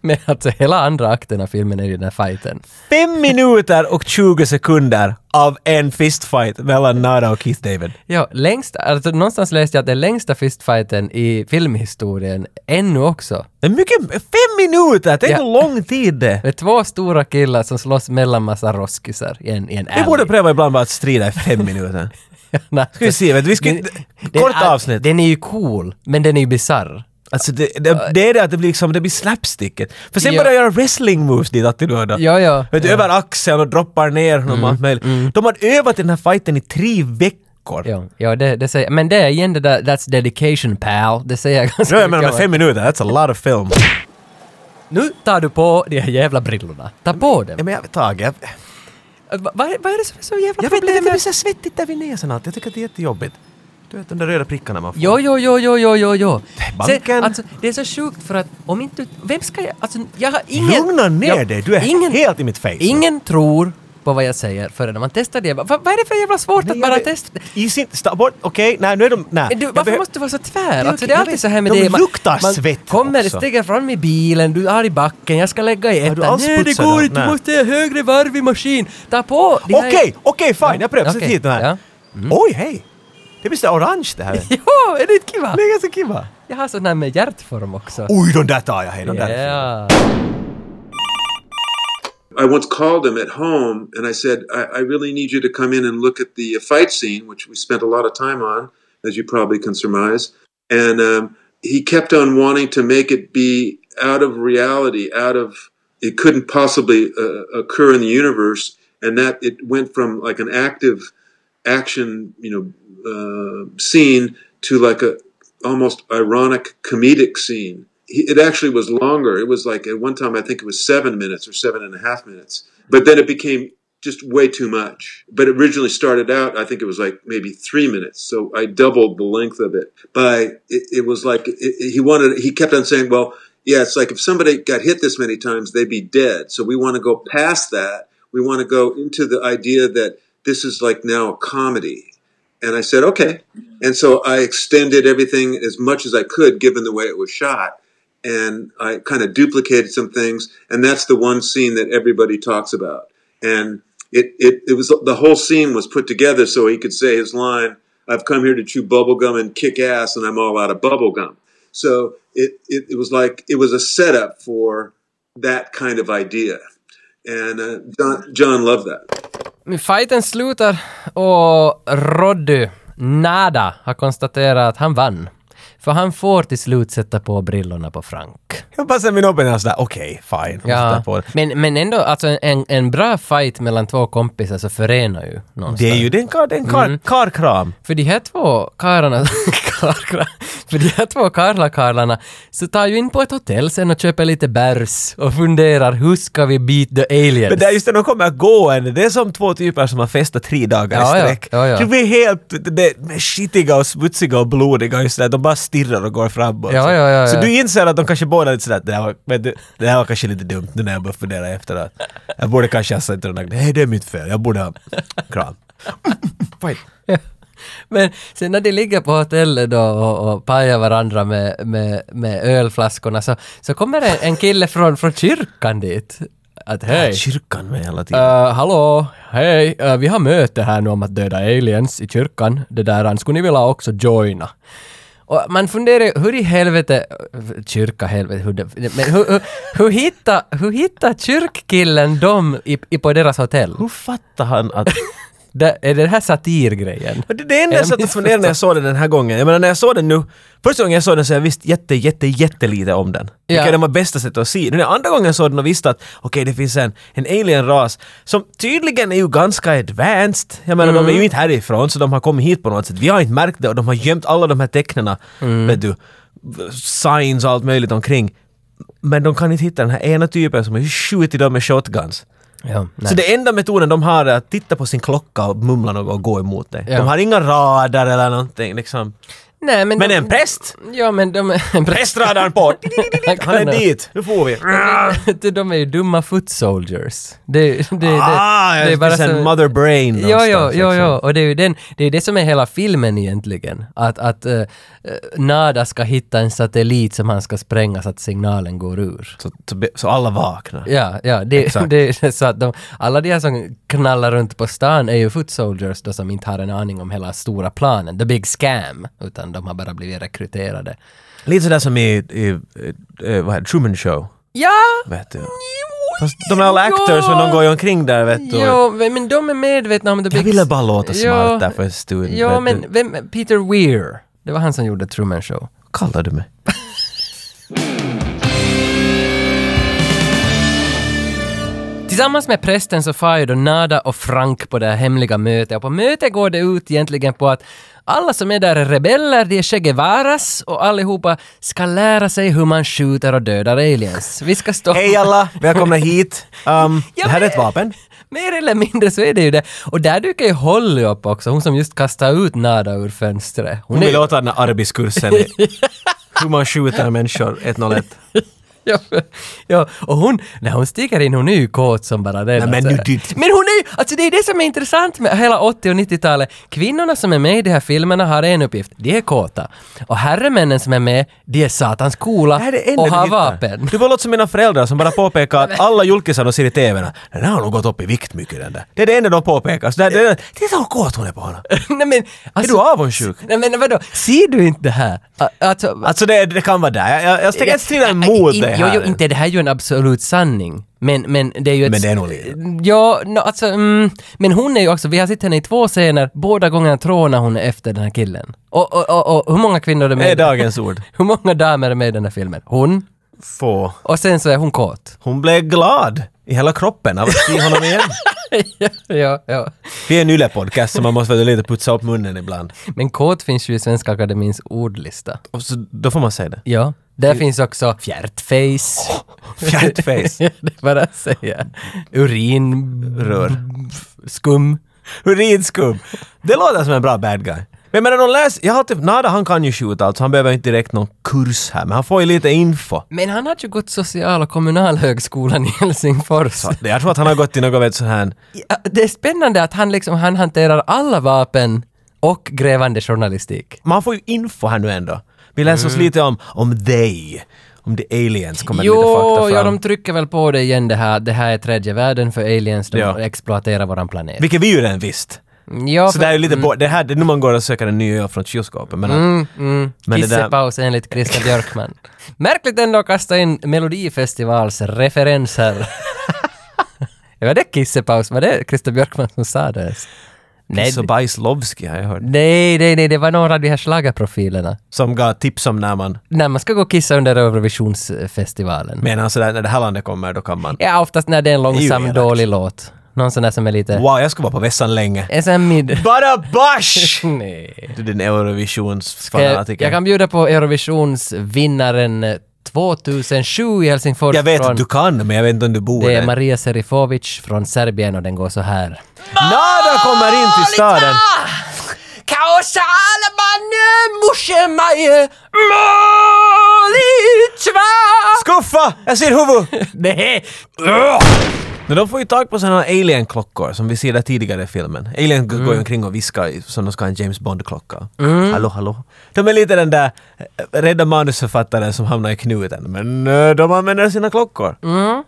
S2: Men alltså hela andra akten av filmen är ju den här fighten.
S1: Fem minuter och 20 sekunder av en fistfight mellan Nada och Keith David.
S2: Ja, längst, alltså någonstans läste jag att den längsta fistfighten i filmhistorien ännu också.
S1: Det är mycket, fem minuter! Tänk
S2: Ja.
S1: hur lång tid det är.
S2: Det är två stora killar som slåss mellan massa roskisar i en, i en
S1: Vi
S2: alley.
S1: borde pröva ibland bara att strida i fem minuter.
S2: Nej,
S1: Ska vi se, vet du, vi ska,
S2: den- den
S1: kort
S2: är-
S1: avsnitt.
S2: Den är ju cool, men den är ju bisarr.
S1: Alltså det, det, det är det att det blir liksom, det blir slapsticket. För sen
S2: Ja.
S1: börjar jag göra wrestling moves dit alltid då och då.
S2: Ja, ja.
S1: Vet du,
S2: ja.
S1: över axeln och droppar ner honom och allt möjligt. De har övat i den här fighten i tre veckor.
S2: Ja, ja det, det säger, men det är igen det där, that's dedication pal, det säger jag ganska
S1: Ja, jag menar
S2: mycket
S1: med fem
S2: om.
S1: minuter, that's a lot of film.
S2: Nu tar du på de här jävla brillorna. Ta på dem.
S1: Ja, men jag, Tage, jag,
S2: Va- Vad är, vad är det som är så jävla
S1: jag vet inte,
S2: problem
S1: det blir
S2: med...
S1: så här svettigt där vid näsan alltid. Jag tycker att det är jättejobbigt. Du vet de där röda prickarna man får.
S2: Jo, jo, jo, jo, jo, jo, jo.
S1: Banken.
S2: Sen, alltså, det är så sjukt för att om inte... Vem ska jag... Alltså, jag har ingen...
S1: Lugna ner
S2: jag,
S1: dig, du är
S2: ingen,
S1: helt i mitt face.
S2: Ingen tror på vad jag säger förrän man testar det. Va, vad är det för jävla svårt
S1: Nej,
S2: att
S1: jag
S2: bara
S1: vet-
S2: testa?
S1: I sin... Sta bort, okej, nej nu är de... Nej.
S2: Du,
S1: Jag
S2: varför
S1: behö-
S2: måste du vara så tvär?
S1: Det är
S2: Alltså,
S1: okej,
S2: det är
S1: jag
S2: alltid
S1: vet.
S2: så här med
S1: De
S2: det. Man,
S1: luktar
S2: man
S1: svett
S2: kommer,
S1: också.
S2: stiger fram i bilen, du är i backen, jag ska lägga i
S1: Har du
S2: ettan.
S1: alls
S2: Nej, det
S1: putsat
S2: går
S1: dem?
S2: inte, du
S1: Nej.
S2: måste ha högre varv i maskin. Ta på! de här-
S1: Okej, okej, fine, jag prövar. Sätt
S2: Okej,
S1: hit den här.
S2: ja. Mm.
S1: Oj, hej! Det blir så där orange det här.
S2: Jo, är det inte kiva?
S1: Det är ganska kiva.
S2: Jag har sån här med hjärtform också.
S1: Oj, de där tar jag, hej, de Oh, där.
S2: Ja.
S4: I once called him at home and I said, I, I really need you to come in and look at the uh, fight scene, which we spent a lot of time on, as you probably can surmise. And um, he kept on wanting to make it be out of reality, out of it couldn't possibly uh, occur in the universe. And that it went from like an active action, you know, uh, scene to like a almost ironic comedic scene. He, it actually was longer. It was like at one time I think it was seven minutes or seven and a half minutes. But then it became just way too much. But it originally started out I think it was like maybe three minutes. So I doubled the length of it. By it, it was like it, it- he wanted. He kept on saying, "Well, yeah, it's like if somebody got hit this many times, they'd be dead. So we want to go past that. We want to go into the idea that this is like now a comedy. And I said, okay. And so I extended everything as much as I could, given the way it was shot. And I kind of duplicated some things. And that's the one scene that everybody talks about. And it, it, it was the whole scene was put together so he could say his line, I've come here to chew bubble gum and kick ass, and I'm all out of bubble gum. So it, it, it was like, it was a setup for that kind of idea. And uh, John, John loved that.
S2: Men Fighten slutar och Roddy Nada har konstaterat att han vann. För han får till slut sätta på brillorna på Frank.
S1: Jag passar min öppen och sådär, okej, fine. Måste ta på det.
S2: Men, men ändå, alltså en, en bra fight mellan två kompisar så förenar ju någonstans.
S1: Det är ju, det är en kar, det är en
S2: Mm.
S1: kar, karkram.
S2: För de här två karlarna, karlarna för de här två karlakarlarna så tar ju in på ett hotell sen och köper lite bärs och funderar hur ska vi beat the aliens?
S1: Men där just när de kommer gående, det är som två typer som har festat tre dagar
S2: Ja,
S1: i
S2: ja,
S1: sträck.
S2: ja, ja.
S1: De blir helt det, de är skitiga och smutsiga och blodiga och just där. De bara stirrar och går framåt.
S2: Ja,
S1: så.
S2: ja, ja,
S1: så
S2: ja.
S1: du inser att de kanske båda är lite sådär, det här var, men det, det här var kanske lite dumt nu när jag börjar fundera efteråt. Jag borde kanske ha sagt till den där, nej det är mitt fel, jag borde ha... Kram. Fight.
S2: Men sen när de ligger på hotellet då och, och pajar varandra med, med, med ölflaskorna så, så kommer en, en kille från, från kyrkan dit. Att hej,
S1: Kyrkan med hela tiden.
S2: eh, hallå, hej, eh, vi har möte här nu om att döda aliens i kyrkan. Det där, han skulle ni vilja också joina? Och man funderar ju, hur i helvete, kyrka helvete, hur, det- men hur, hur, hur hittar hur hitta kyrkkillen dem i, i, på deras hotell?
S1: Hur fattar han att...
S2: Det, är det här satirgrejen?
S1: Men Det, det enda
S2: Jag
S1: jag satt och funderade när jag såg den den här gången, jag menar när jag såg den nu, första gången jag såg den så jag visste jätte, jätte, jättelite om den. Vilket
S2: Ja.
S1: är de här bästa sättet att se. Nu när andra gången jag såg den och visste att okej, det finns en, en alien-ras som tydligen är ju ganska advanced. Jag menar, de är ju inte härifrån så de har kommit hit på något sätt. Vi har inte märkt det och de har gömt alla de här tecknena, vet du, signs och allt möjligt omkring. Men de kan inte hitta den här ena typen som har skjutit dem med shotguns.
S2: Ja, nej.
S1: Så det enda metoden de har är att titta på sin klocka och mumla något och gå emot dig.
S2: Ja.
S1: De har inga radar eller någonting liksom.
S2: Nej, men,
S1: Men
S2: de,
S1: en präst?
S2: Ja, men de... En präst.
S1: Prästradarn på! Han är dit! Nu får vi!
S2: de är ju dumma foot soldiers. Det, det, det,
S1: Ah,
S2: det
S1: det finns en mother brain
S2: Ja, ja,
S1: någonstans,
S2: ja,
S1: liksom.
S2: ja. Och det är ju den, det, är det som är hela filmen egentligen. Att, att eh, eh, Nada ska hitta en satellit som han ska spränga så att signalen går ur.
S1: Så, så, be- så alla vaknar.
S2: Ja, ja. Det,
S1: Exakt.
S2: det, så att de, alla de här som knallar runt på stan är ju foot soldiers då som inte har en aning om hela stora planen, the big scam, utan de har bara blivit rekryterade.
S1: Lite sådär som i, i, eh, vad heter det, Truman Show.
S2: Ja!
S1: Vet du. Fast de är alla
S2: Ja.
S1: actors men de går ju omkring där vet du.
S2: Jo, men de är medvetna om the big...
S1: Jag ville bara låta
S2: Ja.
S1: smart där för en stund. vet
S2: Ja,
S1: du.
S2: men vem, Peter Weir, det var han som gjorde Truman Show.
S1: Kallar du mig?
S2: Tillsammans med prästen så far ju då Nada och Frank på det här hemliga mötet. Och på mötet går det ut egentligen på att alla som är där är rebeller, de är Che Guevaras och allihopa ska lära sig hur man skjuter och dödar aliens. Vi ska stå...
S1: Hej alla, välkomna hit. Um,
S2: Ja,
S1: det här är
S2: men-
S1: ett vapen.
S2: Mer eller mindre så är det ju det. Och där dyker ju Holly upp också, hon som just kastade ut Nada ur fönstret.
S1: Hon
S2: är-
S1: vill låta den här arbetskursen i hur man skjuter människor 101.
S2: ja, ja, och hon, när hon sticker in, hon är ju kåt som bara den.
S1: Nej, men
S2: alltså.
S1: nu dit.
S2: men hon är ju, alltså det är det som är intressant med hela 80 och 90-talet. Kvinnorna som är med i de här filmerna har en uppgift, de är kåta. Och herremännen som är med, de är satans coola
S1: Det här är det enda
S2: och
S1: vi
S2: har
S1: hittar.
S2: vapen.
S1: Du var låt som mina föräldrar som bara påpekar att alla julkisar de ser i TVn, den har nog gått upp i vikt mycket den där. Det är det enda de påpekar. Så det, det, titta vad kåt hon är på honom.
S2: nej men, alltså,
S1: du avundsjuk?
S2: Nej men vadå, ser du inte det här? A- Alltså,
S1: Alltså det, det kan vara där. Jag, jag, jag tänker inte strida
S2: I-
S1: emot
S2: in-
S1: det här.
S2: Jo, jo, inte det här är ju en absolut sanning. Men, men det är ju ett...
S1: Men det är nog lite.
S2: Ja, no, alltså, mm, men hon är ju också, vi har sett henne i två scener, båda gångerna trånar hon efter den här killen. Och, och, och, och hur många kvinnor är
S1: Det
S2: med?
S1: är dagens ord.
S2: Hur många damer är med i den här filmen? Hon.
S1: Få.
S2: Och sen så är hon kåt.
S1: Hon blev glad i hela kroppen av att se honom igen.
S2: ja, ja, ja.
S1: Vi är en yllepodcast så man måste väl lite putsa upp munnen ibland.
S2: Men kåt finns ju i Svenska Akademins ordlista.
S1: Och så, då får man säga det.
S2: Ja. Där finns också fjärtface.
S1: Fjärtface.
S2: det är bara att säga. Urin...
S1: Rör.
S2: Skum.
S1: Urinskum. Det låter som en bra bad guy. Men menar de läser, jag har typ, Nada han kan ju skjuta alltså, han behöver inte direkt någon kurs här, men han får ju lite info.
S2: Men han hade ju gått social och kommunalhögskolan i Helsingfors.
S1: Så, jag tror att han har gått till något vet, sån här
S2: Ja, det är spännande att han liksom, han hanterar alla vapen och grävande journalistik.
S1: man får ju info här nu ändå. Vi läser oss lite om, om they, om the aliens kommer lite
S2: Mm. Jo,
S1: fakta
S2: ja,
S1: fram.
S2: de trycker väl på det igen det här, det här är tredje världen för aliens, de
S1: Ja.
S2: exploaterar våran planet.
S1: Vilket vi ju redan visst.
S2: Ja,
S1: Så det här är lite bo- det här, det är nu man går och söker en ny öl från kylskåpet. Men,
S2: Mm, mm.
S1: Men det där-
S2: Kissepaus enligt Christer Björkman. Märkligt ändå att kasta in Melodifestivals referenser. var det kissepaus? Var det Christer Björkman som sa det? ens? Nej,
S1: så Bajslovski har jag hört.
S2: nej, nej, nej, det var några av de här schlagerprofilerna.
S1: Som gav tips om när man,
S2: När man ska gå och kissa under Eurovisionsfestivalen.
S1: medan sådär, när det här landet kommer då kan man.
S2: Ja, oftast när det är en
S1: ju
S2: långsam,
S1: elakt.
S2: dålig låt. Någon sån där som är lite...
S1: Wow, jag ska vara på vässan länge.
S2: En sån här mid...
S1: Bara bash!
S2: Nej.
S1: Du är din
S2: Jag,
S1: Eurovisionsfanatiker.
S2: Eh, jag kan bjuda på Eurovisionsvinnaren eh, 2007 i Helsingfors
S1: Jag vet
S2: från...
S1: att du kan, men jag vet inte om du bor
S2: Det är
S1: där.
S2: Maria Serifovic från Serbien och den går så här.
S1: Nada kommer in till staden!
S2: Kaosa alamane mushemaje molitva!
S1: Skuffa! Jag ser huvud!
S2: Nej!
S1: Men de får ju tag på såna här alien-klockor som vi ser där tidigare i filmen. Alien g-
S2: Mm.
S1: går ju omkring och viskar i- som de ska ha en James Bond-klocka. Hallå, hallå. De är lite den där eh, rädda manusförfattaren som hamnar i knuten. Men eh, de använder sina klockor.
S2: Mm,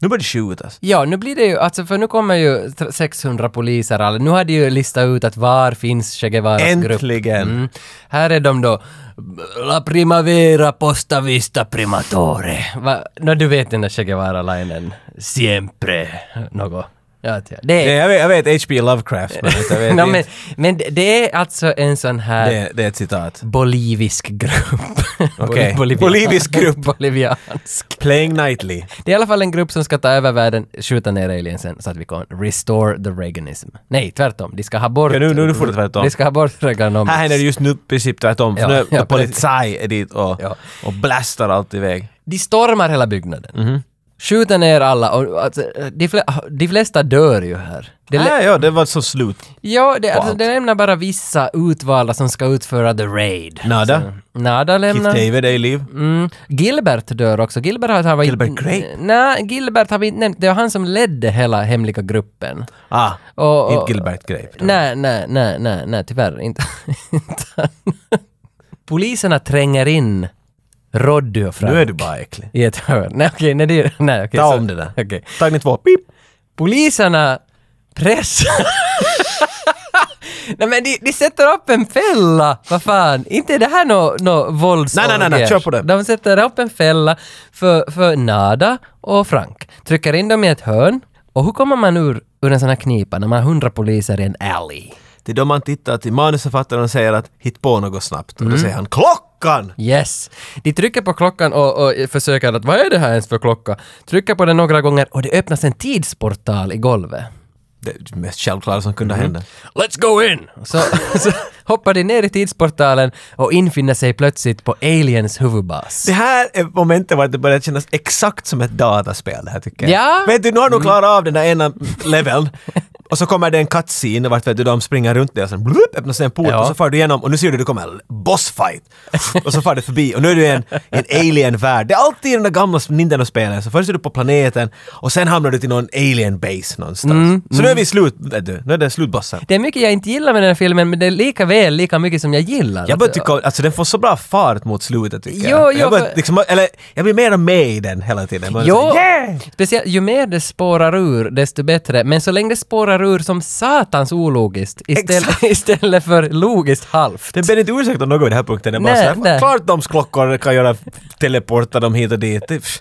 S1: Nu börjar det skjutas.
S2: Ja, nu blir det ju, alltså för nu kommer ju tr- 600 poliser, alla. nu har de ju listat ut att var finns Che Guevaras grupp.
S1: Äntligen!
S2: Mm. Här är de då. La primavera posta vista primatore. Va? Nå, du vet den där Che Guevara-linen. Siempre. Något. Ja, ja. Det är
S1: Nej, jag, vet, jag vet H.P. Lovecraft, men jag vet
S2: Nå,
S1: inte.
S2: men, men det- det är alltså en sån här
S1: Det, det är ett citat.
S2: bolivisk grupp.
S1: Okej.
S2: Bolivian-
S1: Bolivisk grupp.
S2: Boliviansk.
S1: Playing Nightly.
S2: Det är i alla fall en grupp som ska ta över världen, skjuta ner aliensen så att vi kan restore the Reaganism. Nej, tvärtom. De ska ha bort...
S1: Ja, nu- nu- nu får det tvärtom.
S2: De ska ha bort Reaganomics.
S1: Här händer det just nu i princip tvärtom.
S2: Ja,
S1: för nu
S2: ja,
S1: ja, Polizei är dit och,
S2: Ja.
S1: och blastar allt iväg. Mhm.
S2: De stormar hela byggnaden. Skjuter ner alla och alltså, de, fle, de flesta dör ju här. Det lä-
S1: Nej, ja, det var så slut.
S2: ja, det, alltså,
S1: allt.
S2: det lämnar bara vissa utvalda som ska utföra the raid.
S1: Nada.
S2: Nada
S1: Keith
S2: lämnar...
S1: David är i liv.
S2: Mm. Gilbert dör också. Gilbert har, har vi
S1: Gilbert
S2: inte-
S1: Grape?
S2: Nej, Gilbert har vi inte nämnt. Det var han som ledde hela hemliga gruppen.
S1: Ah,
S2: Och, och,
S1: inte Gilbert Grape.
S2: Nej, nej, nej, nej, nej, tyvärr inte. inte han. Poliserna tränger in Roddy och Frank.
S1: Nu är du bara äcklig.
S2: I ett hörn. Nej, okej, nej, det, nej, okej.
S1: Ta
S2: så-
S1: om det där.
S2: Okej.
S1: Tagning två. Pip.
S2: Poliserna pressar... nej, men de, de sätter upp en fälla. Vad fan, inte är det här något no vålds...
S1: Nej, nej, nej, nej,
S2: orgier.
S1: kör på det.
S2: De sätter upp en fälla för, för Nada och Frank. Trycker in dem i ett hörn. Och hur kommer man ur, ur en sån här knipa när man har hundra poliser i en alley?
S1: Det är då man tittar till manusförfattaren och säger att hit på något snabbt.
S2: Mm.
S1: Och då säger han klockan!
S2: Yes! De trycker på klockan och, och försöker att vad är det här ens för klocka? Trycker på den några gånger och det öppnas en tidsportal i golvet.
S1: Det är det mest självklara som
S2: Mm.
S1: kunde hända.
S2: Let's go in! Så, så hoppar de ner i tidsportalen och infinner sig plötsligt på Aliens huvudbas.
S1: Det här är momentet var det börjar kännas exakt som ett dataspel det här tycker jag.
S2: Ja. Mm.
S1: Vet du, nu har du klarat av den där ena leveln. Och så kommer det en cutscene vart vet du, de springer runt dig och sen blup, öppnas det en port
S2: Ja.
S1: och så far du igenom och nu ser du det kommer en bossfight. Och så far du förbi och nu är du i en, en alien-värld. Det är alltid i den där gamla Nintendo-spelen. Så först är du på planeten och sen hamnar du till någon alien-base någonstans.
S2: Mm,
S1: så nu är vi i slut, vet du. Nu är det slutbossen.
S2: Det är mycket jag inte gillar med den här filmen, men det är lika väl lika mycket som jag gillar.
S1: Jag börjar tycka, alltså den får så bra fart mot slutet tycker
S2: Jo,
S1: jag.
S2: jo,
S1: jag, börjar,
S2: för-
S1: liksom, eller, jag blir mer och mer i den hela tiden. Man är
S2: Jo,
S1: så här, "Yeah!"
S2: speciellt ju mer det spårar ur, desto bättre. Men så länge det spårar ur som satans ologiskt istället,
S1: Exakt.
S2: istället för logiskt halvt.
S1: Det ber inte ursäkt om något vid den här punkten. Det är bara
S2: Nej,
S1: nej, så
S2: nej.
S1: här, klart de klockor kan göra teleporta dem hit och dit. Det- pff,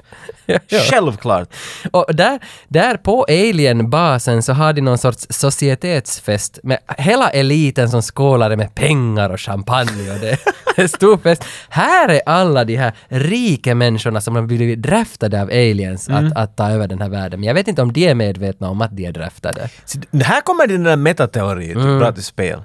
S1: Självklart.
S2: Och där, där på Alien-basen så har de någon sorts societetsfest med hela eliten som skålade med pengar och champagne och det det är stor fest. Här är alla de här rika människorna som har blivit draftade av aliens
S1: Mm.
S2: att, att ta över den här världen. Men jag vet inte om de är medvetna om att de är draftade.
S1: Så det- här kommer din där metateori, du
S2: Mm.
S1: pratar spel.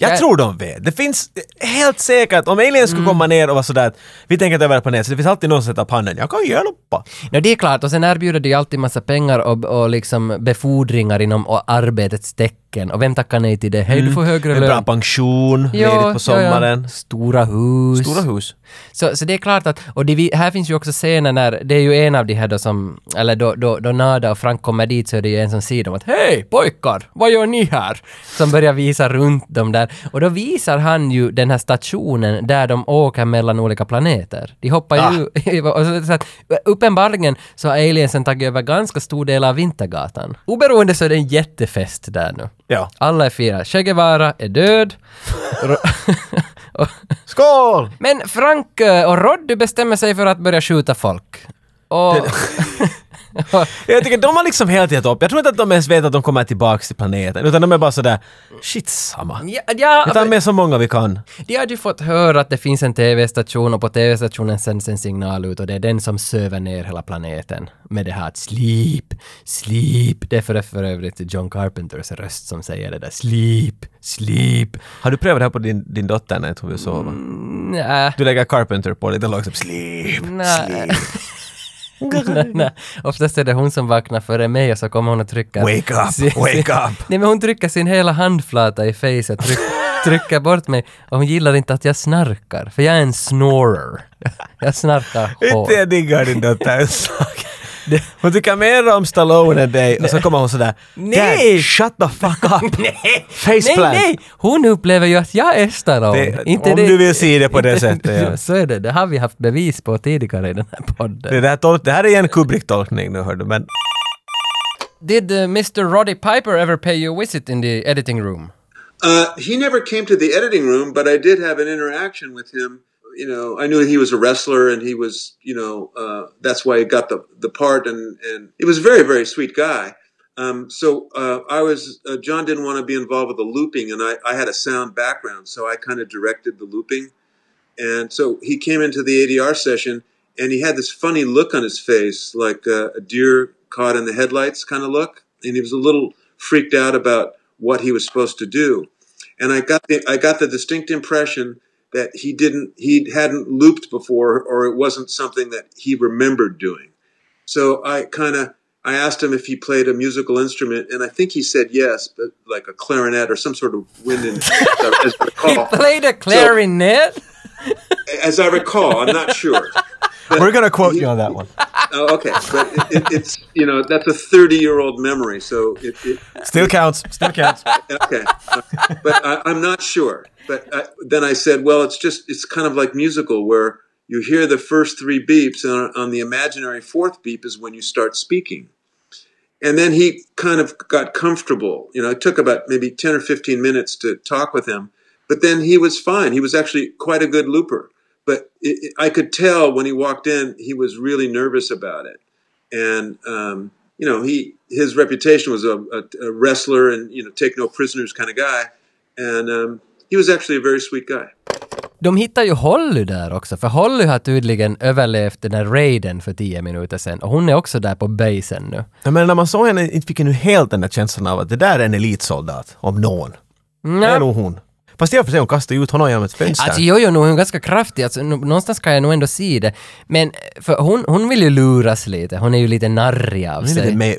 S1: Jag tror de vet. Det finns helt säkert, om aliens
S2: Mm.
S1: skulle komma ner och vara sådär att vi tänker att överhuvudtaget på nätet, så det finns alltid någon som sätter upp handen. Jag kan hjälpa.
S2: No, det är klart, och sen erbjuder de ju alltid massa pengar och, och liksom befordringar inom och arbetets tecken. Och vem tackar nej till det? Hej, du får högre
S1: En Mm. bra
S2: lön.
S1: pension,
S2: Ja,
S1: ledigt på
S2: ja, ja.
S1: sommaren.
S2: Stora hus.
S1: Stora hus.
S2: Så, så det är klart att, och det, vi- här finns ju också scener när, det är ju en av de här då som, eller då, då, då Nada och Frank kommer dit så är det ju en som säger dem att ”Hej pojkar, vad gör ni här?” som börjar visa runt dem där. Och då visar han ju den här stationen där de åker mellan olika planeter. De hoppar ju... och så, så att, uppenbarligen så har aliensen tagit över ganska stor del av Vintergatan. Oberoende så är det en jättefest där nu.
S1: Ja.
S2: Alla är fyra. Che Guevara är död. Ro- och,
S1: Skål!
S2: men Frank eh, och Roddy bestämmer sig för att börja skjuta folk. Och...
S1: Jag tycker de har liksom hela tiden gett upp. Jag tror inte att de ens vet att de kommer tillbaka till planeten. Utan de är bara sådär, shit samma.
S2: ja, ja,
S1: Vi tar med så många vi kan.
S2: de hade ju fått höra att det finns en TV-station och på TV-stationen sänds en signal ut och det är den som söver ner hela planeten med det här att sleep, sleep. Det är för, för övrigt John Carpenters röst som säger det där sleep, sleep.
S1: Har du prövat det här på din, din dotter när jag tror vi sover?
S2: Mm. Nä,
S1: Du lägger Carpenter på det, den låg som sleep.
S2: nä. Nej, nej. Oftast är det hon som vaknar före mig och så kommer hon att trycka...
S1: Wake up,
S2: sin- sin-
S1: wake up.
S2: Nej men hon trycker sin hela handflata i facet, tryck, trycker bort mig och hon gillar inte att jag snarkar, för jag är en snorer. Jag snarkar hårt.
S1: Inte jag diggar din dotter en sak. Hon tycker mer om Stallone än dig och så kommer hon sådär
S2: Nej!
S1: "Dad, shut the fuck up! nej!
S2: Nej,
S1: Faceplant!
S2: nej! Hon upplever ju att jag är Stallone.
S1: Det- om du vill se det på det
S2: inte-
S1: sättet, ja.
S2: Så är det, det har vi haft bevis på tidigare i den här podden.
S1: Det, där tol- det här är en Kubrick-tolkning nu hör du men
S2: Did uh, Mr. Roddy Piper ever pay you a visit in the editing room?
S4: Uh, he never came to the editing room, but I did have an interaction with him. You know, I knew he was a wrestler, and he was, you know, uh, that's why he got the the part. And and he was a very very sweet guy. Um, so uh, I was uh, John didn't want to be involved with the looping, and I, I had a sound background, so I kind of directed the looping. And so he came into the ADR session, and he had this funny look on his face, like uh, a deer caught in the headlights kind of look. And he was a little freaked out about what he was supposed to do and I got the I got the distinct impression that he didn't he hadn't looped before or it wasn't something that he remembered doing. So I kind of I asked him if he played a musical instrument, and I think he said yes, but like a clarinet or some sort of wind instrument, as
S2: He
S4: I recall.
S2: played a clarinet.
S4: As I recall, I'm not sure.
S1: We're going to quote you on that one.
S4: Oh, okay, but it, it, it's you know that's a 30 year old memory, so it, it,
S1: Still counts. Still counts.
S4: okay, but I, I'm not sure. But I, then I said, well, it's just it's kind of like musical where you hear the first three beeps, and on, on the imaginary fourth beep is when you start speaking. And then he kind of got comfortable. You know, it took about maybe 10 or 15 minutes to talk with him, but then he was fine. He was actually quite a good looper. But it, it- I could tell when he walked in, he was really nervous about it and um, you know he his reputation was a, a, a wrestler and you know take no prisoners kind of guy, and um, he was actually a very sweet guy.
S2: De hittar ju Holly där också, för Holly har tydligen överlevt den här raiden för tio minuter sedan och hon är också där på basen nu.
S1: Jag menar, när man såg henne inte fick jag nu helt den där känslan av att det där är en elitsoldat, om någon. Det är nog hon. Fast i och för sig, hon kastade ut honom genom ett fönster.
S2: Mm, Alltså jo, jo, nog hon är ganska kraftig, alltså, nå- någonstans kan jag nog ändå se det. Men för hon, hon vill ju luras lite, hon är ju lite narrig av
S1: hon är lite
S2: sig.
S1: med,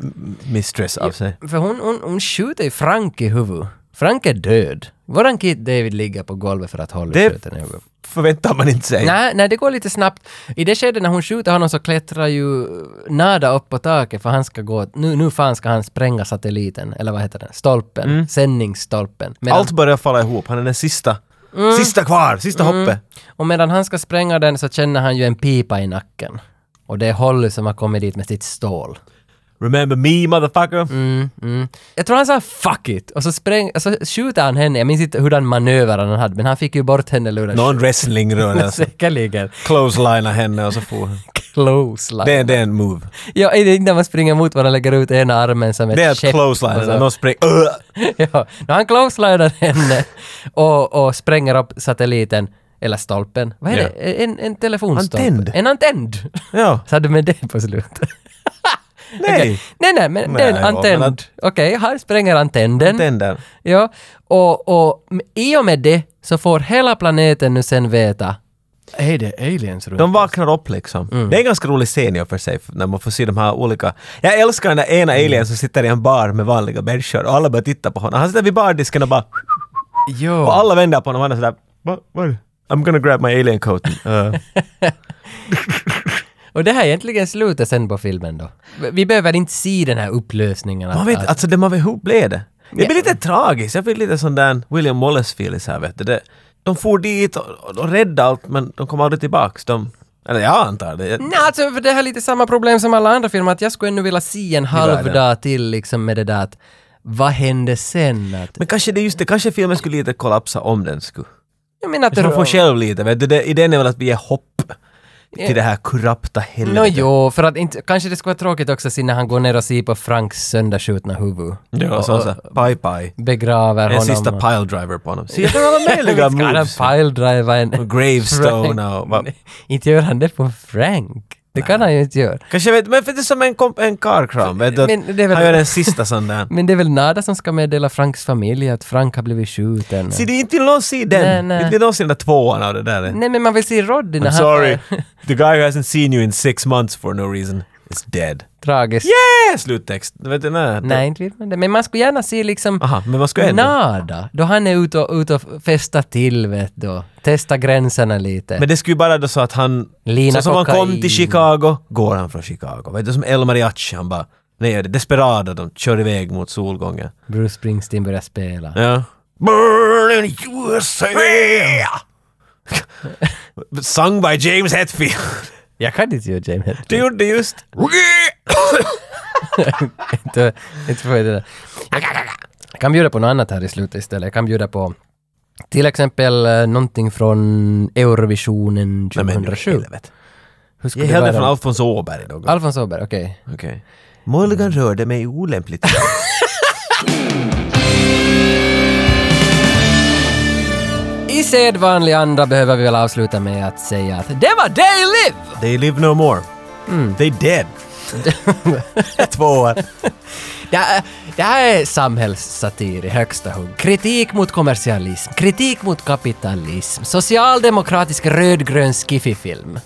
S1: mistress av sig.
S2: För hon, hon, hon skjuter ju Frank i huvudet. Frank är död. Våran Keith David ligger på golvet för att Holly
S1: Det-
S2: skjuter henne i huvudet.
S1: Förväntar man inte sig.
S2: Nej, nej, det går lite snabbt. I det skedet när hon skjuter honom så klättrar ju Nada upp på taket för han ska gå, nu, nu fan ska han spränga satelliten, eller vad heter den, stolpen, sändningsstolpen. Medan,
S1: Mm. Allt börjar falla ihop. Han är den sista.
S2: Mm.
S1: Sista kvar, sista hoppet.
S2: Och medan han ska spränga den så känner han ju en pipa i nacken. Och det är Holly som har kommit dit med sitt stål.
S1: Remember me motherfucker.
S2: Mm. Jag tror han sa 'fuck it' och så, spräng, så skjuter han henne, jag minns inte hurdan manöver han hade men han fick ju bort henne luren.
S1: Någon wrestlingrörelse.
S2: Säkerligen.
S1: Closelinea henne och så får hon.
S2: Close line.
S1: Det är det är en move.
S2: Ja, är det inte när man springer mot varandra och lägger ut ena armen som ett Alltså.
S1: Det är att
S2: skepp och så-
S1: closeline. Någon springer... Ugh!
S2: ja, när han closelinar henne och, och spränger upp satelliten, eller stolpen. Vad är
S1: Ja.
S2: det? En, en telefonstolpe?
S1: Antenn.
S2: En antenn!
S1: Ja.
S2: Så hade du med det på slutet?
S1: Nej.
S2: Okej. Nej, nej, men
S1: Nej,
S2: den
S1: ja,
S2: antenn.
S1: men
S2: Okej,
S1: att-
S2: han spränger antennen.
S1: Den där.
S2: Ja, och, och m- i och med det så får hela planeten nu sen veta. Är det aliens runt?
S1: De vaknar upp liksom. Det är en ganska rolig scen i och för sig, när man får se de här olika... Jag älskar den där ena alien som sitter i en bar med vanliga människor och alla börjar titta på honom. Han sitter vid bardisken och bara...
S2: Jo.
S1: Och alla vänder på honom och han är sådär... "Va- Vad är det? I'm gonna grab my alien coat. Uh,
S2: Och det här är egentligen slutet sen på filmen då. Vi behöver inte se den här upplösningen. att-
S1: man vet,
S2: att-
S1: alltså det man vet, hur blev det? Det blir lite tragiskt. Jag fick lite sån där William Wallace-feeling så här vet du. Det, de for dit och, och, och räddade allt men de kom aldrig tillbaks. De, eller jag antar det. Jag,
S2: Nej, alltså för det här är lite samma problem som alla andra filmer, att jag skulle ännu vilja se en halv
S1: världen.
S2: dag till liksom med det där att vad hände sen? Att,
S1: men kanske det är just det, kanske filmen skulle lite kollapsa om den skulle.
S2: jag menar att
S1: Så de får
S2: det...
S1: själv lite, vet du. Det, idén är väl att vi ger hopp till det här korrupta
S2: Nå
S1: helvetet.
S2: jo, för att inte, kanske det skulle vara tråkigt också att se när han går ner och ser på Franks sönderskjutna huvud.
S1: ja, och så, så, bye bye.
S2: Begraver
S1: En
S2: honom.
S1: sista pile driver på honom. Så jag kan alla möjliga
S2: Ska han
S1: moves.
S2: piledriva en...
S1: Och Gravestone och... vad-
S2: inte gör han det på Frank. Det kan han ju inte göra.
S1: Kanske vet, men för det är som en, komp- en karkram, vet du?
S2: Men det är väl-
S1: Han gör den sista sån där.
S2: Men det är väl Nada som ska meddela Franks familj att Frank har blivit skjuten.
S1: Se, det är inte vill någon se den.
S2: Nej, nej.
S1: Inte vill någon se den där tvåan av det där.
S2: Nej men man vill se Roddy när
S1: I'm
S2: han...
S1: sorry. The guy who hasn't seen you in six months for no reason is dead.
S2: Tragiskt.
S1: Yeah! Sluttext. Vet du, nej.
S2: Nej, inte vet man det. Men man skulle gärna se liksom
S1: Aha, men Ah, vad ska jag ändå?
S2: Nada, då han är ute och, ute och festar till vet du. Testa gränserna lite.
S1: Men det skulle ju bara då så att han...
S2: Lina
S1: så som han kom
S2: kokain.
S1: till Chicago, går han från Chicago. Vet du, som El Mariachi, han bara... Nej, det är desperado, de kör iväg mot solgången.
S2: Bruce Springsteen börjar spela.
S1: Ja. Burn in USA! Sung by James Hetfield.
S2: Jag kan inte göra James Hetfield.
S1: Det gjorde just...
S2: inte, inte för det där. Jag kan bjuda på något annat här i slutet istället. Jag kan bjuda på till exempel eh, någonting från Eurovisionen
S1: Nej, men
S2: 2007.
S1: helvete.
S2: Hur
S1: Jag
S2: skulle det
S1: hällde från
S2: vara?
S1: Alfons Åberg då.
S2: Alfons Åberg, okej.
S1: Okej. Mulligan rörde mig olämpligt.
S2: I sedvanlig anda behöver vi väl avsluta med att säga att det var Day Live!
S1: They live no more. They dead. Tvåa.
S2: Det här, det här är samhällssatir i högsta hugg. Kritik mot kommersialism, kritik mot kapitalism, socialdemokratisk rödgrön skiffifilm.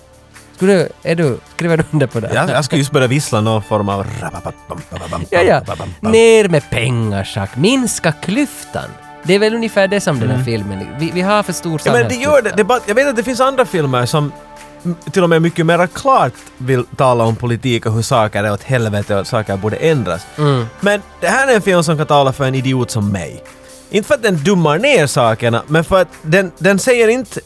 S2: Skulle du, är du, skriver du under på det?
S1: Jag, jag ska just börja vissla någon form av... rabababam,
S2: Ja, ja.
S1: bababam, babam.
S2: Ner med pengar, Jacques. Minska klyftan. Det är väl ungefär det som den här filmen... Vi, vi har för stor
S1: Mm. Ja, men det
S2: samhällsklyfta.
S1: gör det. det är bara, jag vet att det finns andra filmer som m- till och med mycket mera klart vill tala om politik och hur saker är åt helvete och att saker borde ändras. Men det här är en film som kan tala för en idiot som mig. Inte för att den dummar ner sakerna, men för att den, den säger inte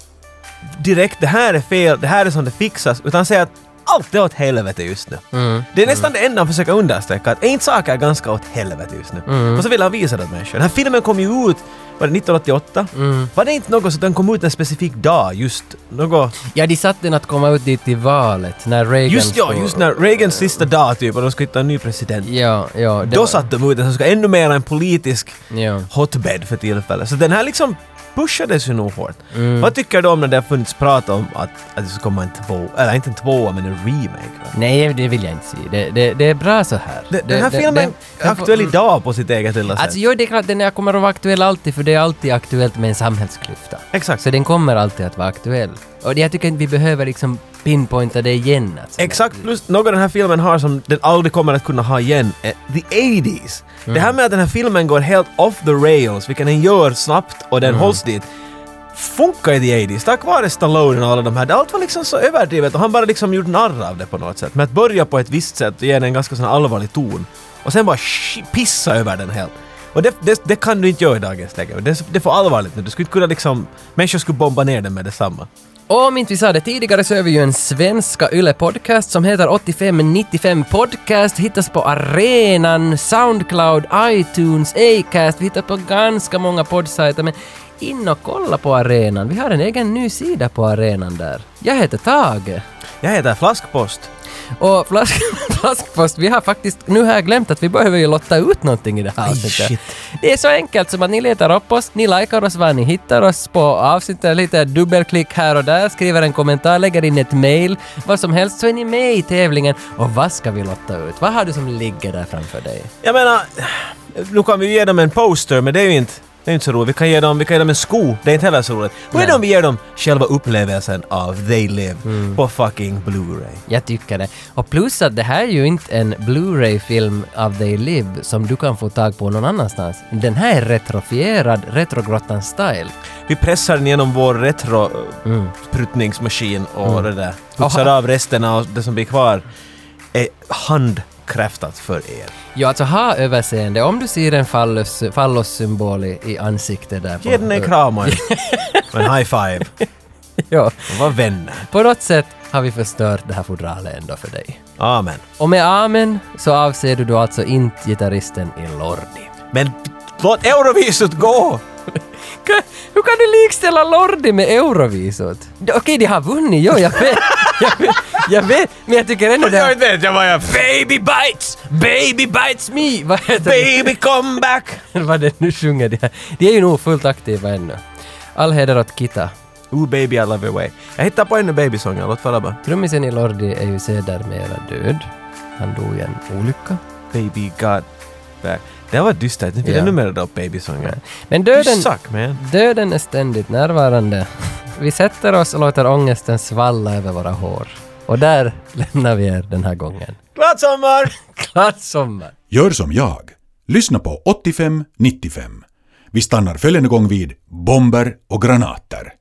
S1: direkt det här är fel, det här är som det fixas, utan säger att allt är åt helvete just nu.
S2: Mm.
S1: Det är nästan det enda han försöker understryka, att en sak är ganska åt helvete just nu.
S2: Mm.
S1: Och så vill han visa det åt människor. Den här filmen kom ju ut, var det 1988?
S2: Mm.
S1: Var det inte något så att den kom ut en specifik dag just? Något...
S2: Ja, de satte den att komma ut dit i valet, när Reagan
S1: Just ja,
S2: stod-
S1: just när Reagans sista dag typ, och de skulle hitta en ny president.
S2: Ja, ja. det
S1: Då
S2: var-
S1: satte de ut den som ska ännu mer en politisk
S2: Ja.
S1: hotbed för tillfället. Så den här liksom pushades ju nog hårt.
S2: Mm.
S1: Vad tycker du om när det har funnits prat om att, att det ska komma en tvåa, eller inte en tvåa men en remake? va?
S2: Nej, det vill jag inte se. Det, det, det är bra så här.
S1: Den,
S2: Det-
S1: den här
S2: det-
S1: filmen
S2: den-
S1: är aktuell idag på sitt eget lilla sätt.
S2: Alltså, jo, det är klart, den här kommer att vara aktuell alltid, för det är alltid aktuellt med en samhällsklyfta.
S1: Exakt.
S2: Så den kommer alltid att vara aktuell. Och jag tycker inte vi behöver liksom pinpointa det igen. Alltså.
S1: Exakt, plus något den här filmen har som den aldrig kommer att kunna ha igen, är the 80s. Det här med att den här filmen går helt off the rails, vilket den gör snabbt och den hålls dit, funkar i the 80s tack vare Stallone och alla de här. Allt var liksom så överdrivet och han bara liksom gjorde narr av det på något sätt. Men att börja på ett visst sätt och ge den en ganska sån här allvarlig ton och sen bara shi- pissa över den helt. Och det, det, det kan du inte göra i dagens läge. Och Det, det får allvarligt nu. Du skulle inte kunna liksom... Människor skulle bomba ner den med detsamma.
S2: Om inte vi sa det tidigare så är vi ju en svenska YLE-podcast som heter 8595 Podcast. Hittas på Arenan, Soundcloud, iTunes, Acast. Vi hittar på ganska många poddsajter men in och kolla på Arenan. Vi har en egen ny sida på Arenan där. Jag heter Tage.
S1: Jag heter Flaskpost.
S2: Och flask, flaskpost, vi har faktiskt nu har jag glömt att vi behöver ju lotta ut någonting i det här
S1: Aj,
S2: avsnittet.
S1: shit.
S2: Det är så enkelt som att ni letar upp oss, ni likar oss var ni hittar oss på avsnittet, lite dubbelklick här och där, skriver en kommentar, lägger in ett mail, vad som helst så är ni med i tävlingen. Och vad ska vi lotta ut? Vad har du som ligger där framför dig?
S1: Jag menar, nu kan vi ju ge dem en poster, men det är ju inte, det är inte så roligt. Vi kan, ge dem, vi kan ge dem en sko, det är inte heller så roligt. Vad är det om vi ger dem själva upplevelsen av They Live på fucking Blu-ray?
S2: Jag tycker det. Och plus att det här är ju inte en Blu-ray-film av They Live som du kan få tag på någon annanstans. Den här är retrofierad, Retrogrottan-style.
S1: Vi pressar den genom vår retro-prutningsmaskin och det där. Putsar
S2: Aha.
S1: av resten av det som blir kvar. Är handkräftat för er.
S2: Ja, alltså ha överseende. Om du ser en fallos, fallossymbol i, i ansiktet där. på-
S1: Ge den en kram och en- och en high five.
S2: Ja.
S1: Och var vänner.
S2: På något sätt har vi förstört det här fodralet ändå för dig.
S1: Amen.
S2: Och med amen så avser du då alltså inte gitarristen i Lordi.
S1: Men låt Eurovisut gå!
S2: Ka- Hur kan du likställa Lordi med Eurovisot? D- Okej, de har vunnit, jo, jag vet. Jag vet, jag vet men jag tycker ändå det...
S1: Jag
S2: här-
S1: vet, jag var jag...
S2: Baby bites! Baby bites me! Vad heter det?
S1: Baby come back!
S2: Vad det nu sjunger de här. De är ju nog fullt aktiva ännu. All heder åt Kita.
S1: Ooh baby I love your way. Jag hittar på ännu babysånger, låt falla bara.
S2: Trummisen i Lordi är ju sedermera död. Han dog i en olycka.
S1: Baby got back. Det här var dystert, nu vill
S2: Ja.
S1: jag numera upp babysånger.
S2: Men
S1: You
S2: döden,
S1: suck man.
S2: döden är ständigt närvarande. Vi sätter oss och låter ångesten svalla över våra hår. Och där lämnar vi er den här gången.
S1: Glad sommar!
S2: Glad sommar!
S5: Gör som jag. Lyssna på 85-95. Vi stannar följande gång vid bomber och granater.